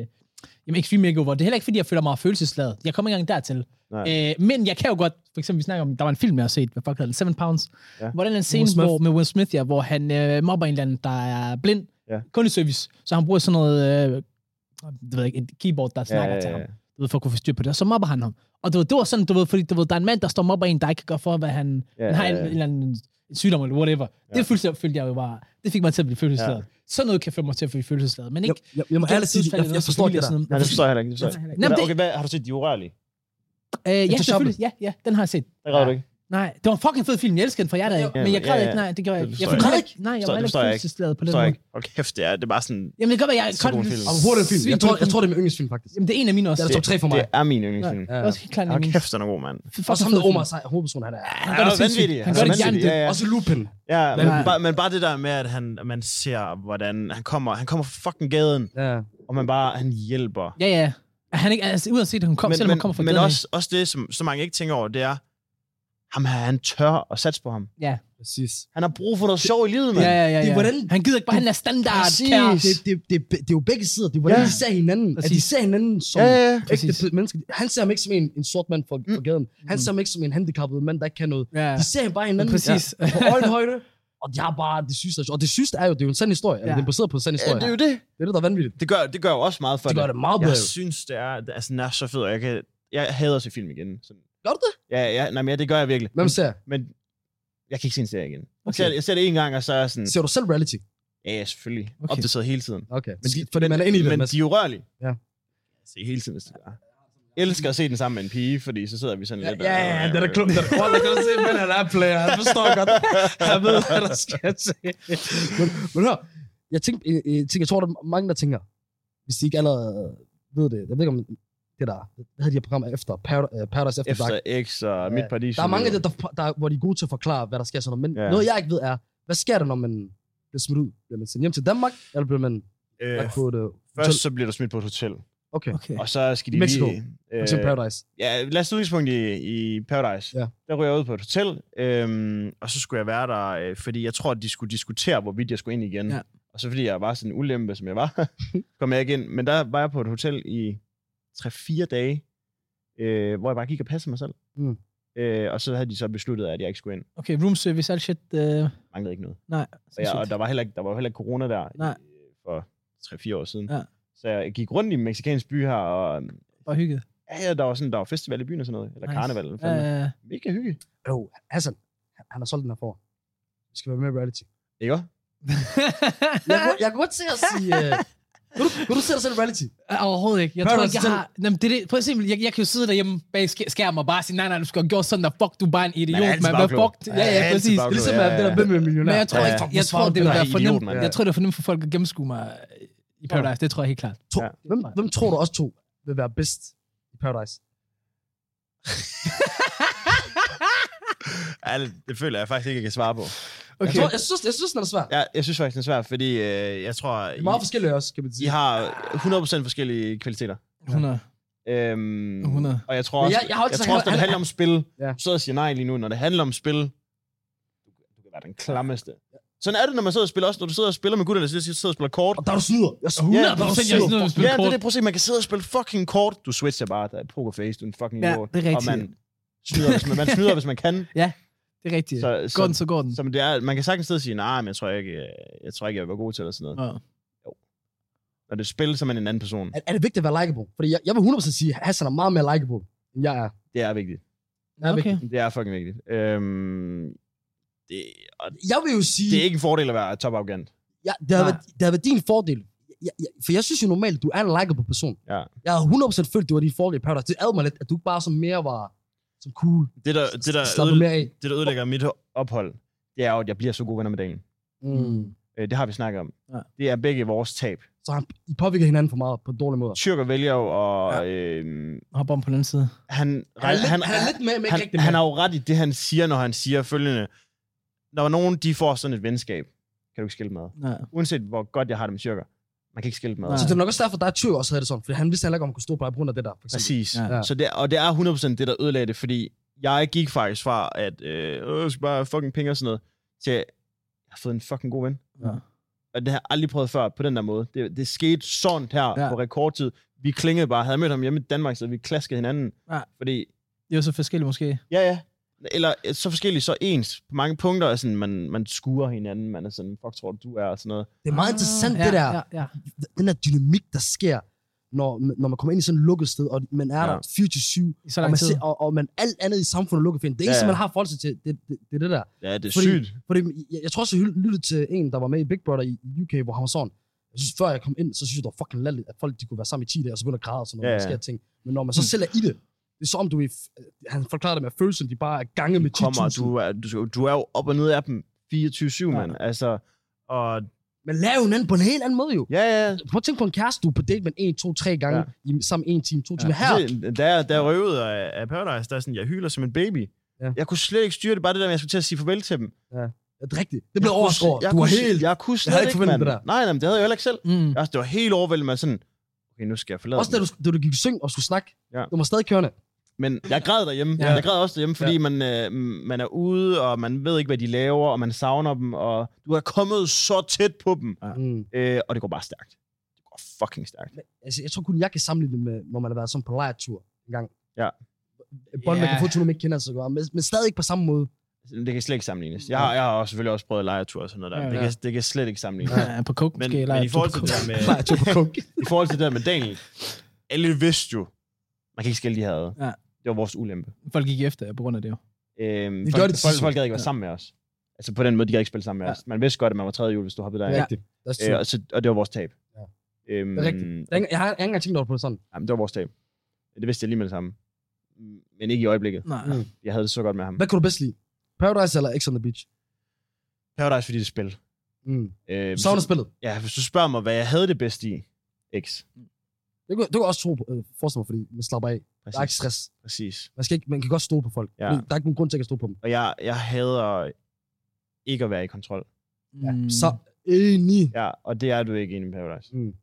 jamen Extreme Makeover, det er heller ikke, fordi jeg føler mig følelsesladet. Jeg kommer ikke engang dertil.
Nej.
Øh, men jeg kan jo godt, for eksempel, vi snakker om, der var en film, jeg har set, hvad fuck hedder den, Seven Pounds,
Ja.
ja. hvor der er en scene
Smith.
hvor, med Will Smith, ja, hvor han øh, mobber en eller anden, der er blind,
Ja.
ja. kun i service, så han bruger sådan noget, øh, det ved jeg ikke, et keyboard, der snakker
Ja,
til ham
ja,
du ved, for at kunne få styr på det, og så mobber han ham. Og du ved, det var sådan, du ved, fordi du ved, der er en mand, der står og mobber en, der ikke kan gøre for, hvad han,
Ja,
ja, han har en,
ja,
en
ja.
eller anden sygdom eller whatever. Ja.
Ja.
Det følte jeg, følte jeg jo bare, det fik mig til at blive følelsesladet. Ja. Sådan noget kan få mig til at blive følelsesladet, men
Jeg,
ikke...
jeg, jeg må ærligt sige, jeg, jeg forstår ikke det der.
Nej, det forstår jeg heller ikke. Det forstår jeg.
Nej, men
ikke.
det,
Okay, hvad, har du set De Urørlige?
øh, ja,
Into
selvfølgelig. Ja, ja, den har jeg set.
Der græder du ikke.
Nej, det var en fucking fed film. Jeg elsker den for jer der, ikke?
Ja,
men jeg
ja,
græd
ja.
ikke. Nej, det gjorde jeg
Det
ikke.
forstår
Jeg forstår
jeg
ikke.
ikke. Nej, jeg
Forstår-
var
det
heller ikke
forstår jeg ikke.
følelsesladet på den
Forstår jeg
måde.
ikke. Og kæft, det er, det er bare sådan...
Jamen, det kan godt være, jeg
Så god film.
Og hurtig en film. Jeg tror, jeg tror, det er min yndlingsfilm, faktisk.
Jamen, det er en af mine også.
Det er
Det
top 3 for mig.
Det er min yndlingsfilm.
Ja.
er også helt klart en af
Og
mine.
kæft, den er god, mand.
Og
Fuck,
så ham der Omar, sej- hovedpersonen, han er.
Han
gør det
er
sindssygt.
vanvittig.
Han gør det
vanvittig.
hjernedødt.
Ja, ja.
Også Lupin.
Ja,
Den har-
men bare, men bare det der med, at han, man ser, hvordan han kommer, han kommer fra fucking gaden,
Ja.
og man bare, han hjælper.
Ja, ja. Er Han ikke, altså, uanset at hun kom,
men
selvom
men,
hun kommer fra
men
gaden af.
også, også det, som så mange ikke tænker over, det er, ham her, han tør at satse på ham.
Præcis.
Han har brug for noget sjov i livet, mand.
Ja,
Ja,
ja, ja.
Det
ja.
er hvordan...
Han gider ikke bare, han er standard.
Præcis.
kære.
Det, det, det, det er jo begge sider. Det er hvordan
Ja.
de ser hinanden. At de
Præcis.
ser hinanden som...
ja, ja.
ægte
Præcis.
menneske. Han ser ham ikke som en, en sort mand fra fra gaden. Han
Mm.
ser ham ikke som en handicappet mand, der ikke kan noget.
Ja,
De ser ham bare hinanden
præcis.
ja, på øjenhøjde, og de har bare det sygeste. Og det sygeste er jo, det er jo en sand historie. Ja.
Ja.
Den er baseret på en sand
ja
historie.
det
Ja,
er
det,
jo det.
det er det, der er vanvittigt.
Det gør, det gør jo også meget for
Det
det.
gør det meget bedre.
Jeg synes, det er, altså, den er så fed, og jeg, kan, jeg hader at se film igen. Sådan.
Gør du det?
Ja, ja, nej, men ja, det gør jeg virkelig.
Hvem ser?
Men jeg kan ikke se en serie igen. Okay. Jeg,
Okay.
ser, jeg ser det en gang, og så er jeg sådan,
Ser du selv reality?
ja, ja, selvfølgelig.
Okay.
Okay. Opdateret hele tiden.
Okay. Men, fordi man er inde i det.
Men
Mads.
de er urørlige.
Ja.
Se hele tiden, hvis det er. elsker at se den sammen med en pige, fordi så sidder vi sådan
Ja,
lidt...
ja, ja, den er klub, den er klub. Der kan du se, men han er player. Han forstår godt. Han ved, hvad der skal til. Men, men hør, jeg, tænkte, jeg, jeg, tænker, jeg tror, der er mange, der tænker, hvis de ikke allerede ved det. Jeg ved ikke, om det der, hvad hedder de her programmer efter? Parad- øh, Paradise After, Dark.
Efter X
Ja.
og Mit Paradis.
Der er mange af det, der, der, hvor de er gode til at forklare, hvad der sker sådan noget. Men
Ja.
ja. noget, jeg ikke ved, er, hvad sker der, når man bliver smidt ud? Bliver man sendt hjem til Danmark, eller bliver man
Øh,
lagt på et øh, hotel?
først så bliver du smidt på et hotel,
Okay,
Okay.
og så skal de
Mexico.
lige...
for
Øh,
eksempel Paradise.
Ja, lad os tage udgangspunkt i, i Paradise.
Ja.
Der ryger jeg ud på et hotel, øhm, og så skulle jeg være der, øh, fordi jeg tror, at de skulle diskutere, hvorvidt jeg skulle ind igen.
Ja.
Og så fordi jeg var sådan en ulempe, som jeg var, kom jeg ikke ind. Men der var jeg på et hotel i 3-4 dage, øh, hvor jeg bare gik og passede mig selv.
Mm.
Øh, og så havde de så besluttet, at jeg ikke skulle ind.
Okay, room service, alt shit. Øh,
Manglede ikke noget.
nej,
Og, jeg, og der var heller ikke, der var jo heller ikke corona der
Nej.
øh, for 3-4 år siden.
Ja.
Så jeg gik rundt i den mexikanske by her, og
bare hygget.
ja, ja, der var sådan, der var festival i byen og sådan noget. Eller
Nice.
karneval. Eller fandme.
Øh,
Mega hygge.
Jo, Hassan, han- han har solgt den her for. Vi skal være med i reality.
Ikke også?
Jeg, kunne- jeg kan godt se at sige... Øh, kan, du, kan du se dig selv i reality?
Overhovedet ikke. Jeg
Hør
tror
dig
ikke, jeg
selv.
har... Jamen, det er det. Prøv at se, jeg, jeg kan jo sidde derhjemme bag sk- skærmen og bare sige, nej, nej, du skal have gjort sådan der. Fuck, du er bare en idiot,
Man er altid
mand. Hvad
bagklog.
fuck? Ja, ja,
altid
præcis.
Det er
bagklog.
ligesom,
Ja,
at
ja,
den der
ja.
hvem er millionær.
Men jeg tror,
Ja.
ikke, jeg, jeg
Fuck,
tror,
hvor
det vil
svarer
være
du?
for
Idiot,
nemt.
mand.
Jeg tror, det er for nemt for folk at gennemskue mig øh, i Paradise. Det tror jeg helt klart.
To,
Ja.
hvem, hvem tror du også to vil være bedst i Paradise?
Al, det føler jeg faktisk ikke, jeg kan svare på.
Okay. Jeg, tror, jeg, synes, jeg synes, den er svær.
Jeg, jeg synes faktisk, det er svært, fordi øh, jeg tror,
Det er meget
I,
forskellige også, kan man
I
sige.
har 100% forskellige kvaliteter.
100.
Øhm,
100.
Og jeg tror
Men
også,
jeg, jeg har
jeg
altid
tror også, når det handler om spil,
Ja.
så jeg siger nej lige nu, når det handler om spil, du kan være den klammeste. Sådan er det, når man sidder og spiller, også når du sidder og spiller med gutterne, så siger, du, sidder og spiller kort.
Og der er du snyder. Jeg
Ja,
100
snyder.
der er
procent, jeg
syv.
sidder og
Ja,
spiller
det er
kort.
det, prøv at se, man kan sidde og spille fucking kort. Du switcher bare, der er poker face, du er en fucking
Ja,
idiot.
det er rigtigt.
Og man snyder, hvis man, man snyder, hvis man kan.
Det er rigtigt.
Så, så,
Går den, så går den.
som det er, man kan sagtens sidde og sige, nej, men jeg tror ikke, øh, jeg tror ikke, jeg vil være god til det, eller sådan noget.
Nå.
Når det er spil, så er man en anden person.
Er, er det vigtigt at være likeable? Fordi jeg, jeg vil 100% sige, at Hassan er meget mere likeable, end jeg er.
Det er vigtigt.
Jeg er,
Okay.
vigtig.
Det er fucking vigtigt. Øhm, det, og
jeg vil jo sige,
det er ikke en fordel at være toparrogant.
ja, det, har
Nej.
været, det har været din fordel. Jeg, jeg, for jeg synes jo normalt, du er en likeable person.
Ja.
Jeg har 100% følt, det var din fordel i Paradise. Det adede mig lidt, at du ikke bare som mere var som cool.
Det der, Øh, det, der
Slapper
ødelægger,
mere af.
det, der ødelægger mit ophold, det er jo, at jeg bliver så god venner med dagen.
Mm.
Øh, det har vi snakket om.
Ja.
Det er begge vores tab.
Så han, I påvirker hinanden for meget på en dårlig måde.
Tyrker vælger jo, og ja. øh,
Hop om på den anden side.
han,
Han er lidt, han, han er lidt med, men ikke
han,
rigtig med.
han har jo ret i det, han siger, når han siger følgende. Når nogen de får sådan et venskab, kan du ikke skille dem ad.
Nej.
Uanset hvor godt jeg har det med tyrker, man kan ikke skille dem ad.
Nej.
Så det er nok også derfor, der er Tyr også havde det sådan, for han vidste heller ikke, om han kunne stå på dig på grund af det der. For eksempel.
Præcis.
Ja.
Ja. Så det, og det er 100% det, der ødelagde det, fordi jeg gik faktisk fra, at øh, øh, jeg skal bare have fucking penge og sådan noget, til jeg har fået en fucking god ven.
Ja.
Og det har jeg aldrig prøvet før på den der måde. Det, det skete sådan her
Ja.
ja. på rekordtid. Vi klingede bare. Havde jeg mødt ham hjemme i Danmark, så vi klaskede hinanden.
Ja.
Fordi,
Det er jo så forskelligt måske.
ja ja, eller øh, så forskellige, så ens. På mange punkter er sådan, man, man skuer hinanden. Man er sådan, fuck tror du, du er, og sådan noget.
Det er meget interessant,
Ah, ja,
det der,
Ja, ja.
den der dynamik, der sker, når, når man kommer ind i sådan et lukket sted, og man er
Ja.
der 24-7,
I så
og,
lang
man
tid.
ser, og, og man alt andet i samfundet er lukket for en. Det eneste,
Ja, ja.
man har forhold til, det, det, det er det der.
Ja, det er
Fordi-
sygt.
Fordi jeg, jeg tror også, jeg lyttede til en, der var med i Big Brother i UK, hvor han var sådan, jeg synes, før jeg kom ind, så synes jeg, det var fucking lalligt, at folk de kunne være sammen i 10 dage, og så begyndte at græde og sådan noget,
Ja,
ja, ja. der
ja.
sker ting. Men når man så selv er i det, det er som om du er, i f- han forklarer det med at følelsen, de bare er gange med 10.000.
kommer, du er, du, du er jo op og ned af dem 24-7, ja. mand. Altså, og
Men lav hinanden på en helt anden måde jo.
ja, ja,
Prøv at tænke på en kæreste, du er på date med 1, 2, 3 gange, ja. i, sammen 1 time, 2 timer. Ja. Her,
Se, Da jeg, da jeg røg ud af, af Paradise, der er sådan, jeg hyler som en baby.
Ja.
Ja. Jeg kunne slet ikke styre det, bare det der, med, at jeg skulle til at sige farvel til dem.
er det rigtigt? Det
Jeg
blev
kunne
overskåret.
sl- Jeg
Du var
kunne, sl-
helt...
Jeg kunne slet
havde ikke
ikke,
forventet
mand.
det der.
Nej, nej, men det havde jeg heller ikke selv.
Mm.
Jeg, det var helt overvældende med sådan, okay, nu skal jeg forlade
Også da
dem.
du, da du gik i syng og skulle snakke,
Ja.
du var stadig kørende.
Men jeg græd derhjemme.
Ja.
Ja. Jeg græd også derhjemme, fordi ja. man, øh, man er ude, og man ved ikke, hvad de laver, og man savner dem, og du er kommet så tæt på dem. Ja.
Mm.
Øh, og det går bare stærkt. Det går fucking stærkt.
Altså, jeg tror kun, jeg kan sammenligne det med, når man har været sådan på lejretur en gang.
Ja.
Bånd, man
Ja.
kan få til, når man ikke kender sig så godt, men, men stadig ikke på samme måde.
Altså, Det kan slet ikke sammenlignes. Jeg har, jeg har også selvfølgelig også prøvet lejetur og sådan noget der.
Ja,
Ja,
ja.
ja. Det, kan, det kan slet ikke sammenlignes.
Ja, på coke
Men,
måske. eller
men i
du
forhold
på
til det
coke.
der med,
Nej, jeg tog på kunk.
i forhold til det der med Daniel, alle vidste jo, man kan ikke skille de her ad.
Ja.
Det var vores ulempe.
Folk gik efter jer på grund af det jo.
Øhm,
Vi
folk,
gør det til
folk,
sidst.
folk gad ikke være sammen med os. Altså på den måde, de gad ikke spille sammen med
Ja.
ja. os. Man vidste godt, at man var tredje jul, hvis du hoppede
Det
der.
er
Ja.
rigtigt. Det er
Øh,
true.
og, så, og det var vores tab.
Ja.
Øhm,
Det er rigtigt. Jeg har ikke engang tænkt over det på sådan.
Jamen, det var vores tab. Det vidste jeg lige med det samme. Men ikke i øjeblikket.
Nej.
Mm.
Jeg havde det så godt med ham.
Hvad kan du bedst lide? Paradise eller X on the Beach?
Paradise, fordi det er spil.
Mm.
Øh, hvis
Savner
du-
spillet.
Ja, hvis du spørger mig, hvad jeg havde det bedst i, X.
Det kan, det kan jeg også tro på, øh, forestille mig, fordi man slapper af. Der er ikke
Præcis.
stress.
Præcis.
Man, skal ikke, man kan godt stole på folk.
Ja.
Der er ikke nogen grund til at stole på dem.
Og jeg, jeg hader ikke at være i kontrol.
Ja.
Mm.
Så enig.
Ja, og det er du ikke inde i Paradise.
Mm.
Men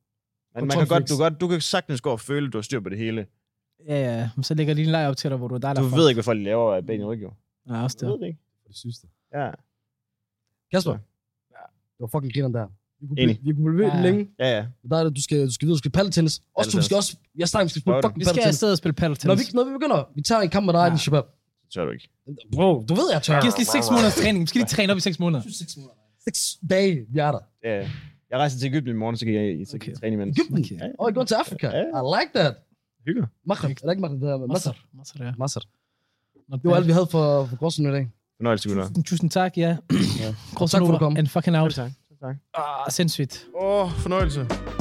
man kan
Kontrolfreaks.
godt, du, kan godt, du kan sagtens gå og føle, at du har styr på det hele.
Ja, ja. Men så lægger lige en leg op til dig, hvor du er dig,
Du ved ikke, hvad folk laver af ben i ryggen.
Nej, også
Du
det.
ved det ikke.
Det sygeste.
Ja,
Kasper.
Ja.
Ja. Det var fucking grineren der. Vi kunne,
Enig.
blive, vi kunne blive ved
Ja.
ja. længe.
ja, ja.
Der er det, du skal, du skal vide, du skal paddeltennis. Også du
Paddeltennis.
skal også... Jeg snakker, vi skal spille
Spørger du?
fucking
Vi skal
paddeltennis.
afsted og spille paddle
Når vi,
tennis.
når vi begynder, vi tager en kamp med dig,
Ja.
ja. Shabab.
Det tør du ikke.
Bro, du ved, jeg tør.
Giv os lige 6 måneders træning. Vi skal lige træne op i 6 måneder.
Seks dage, vi er der.
Ja, ja. jeg rejser til Ægypten i morgen, så kan jeg så kan
Okay.
okay. træne imens.
Egypten.
Okay.
Og I går til Afrika.
Ja.
I like that.
Hygger.
Maghreb. Er det ikke Maghreb? Det er Masser.
Masser. Masser, ja.
Masser.
Not
Det var
bad.
alt, vi havde for, for Gråsen i dag.
Fornøjelse, Gunnar.
Tusind, tusind tak, ja.
Ja.
Cross
Tak for, at du
over
kom.
and fucking out.
tak.
Ah, sindssygt.
Åh, oh, fornøjelse.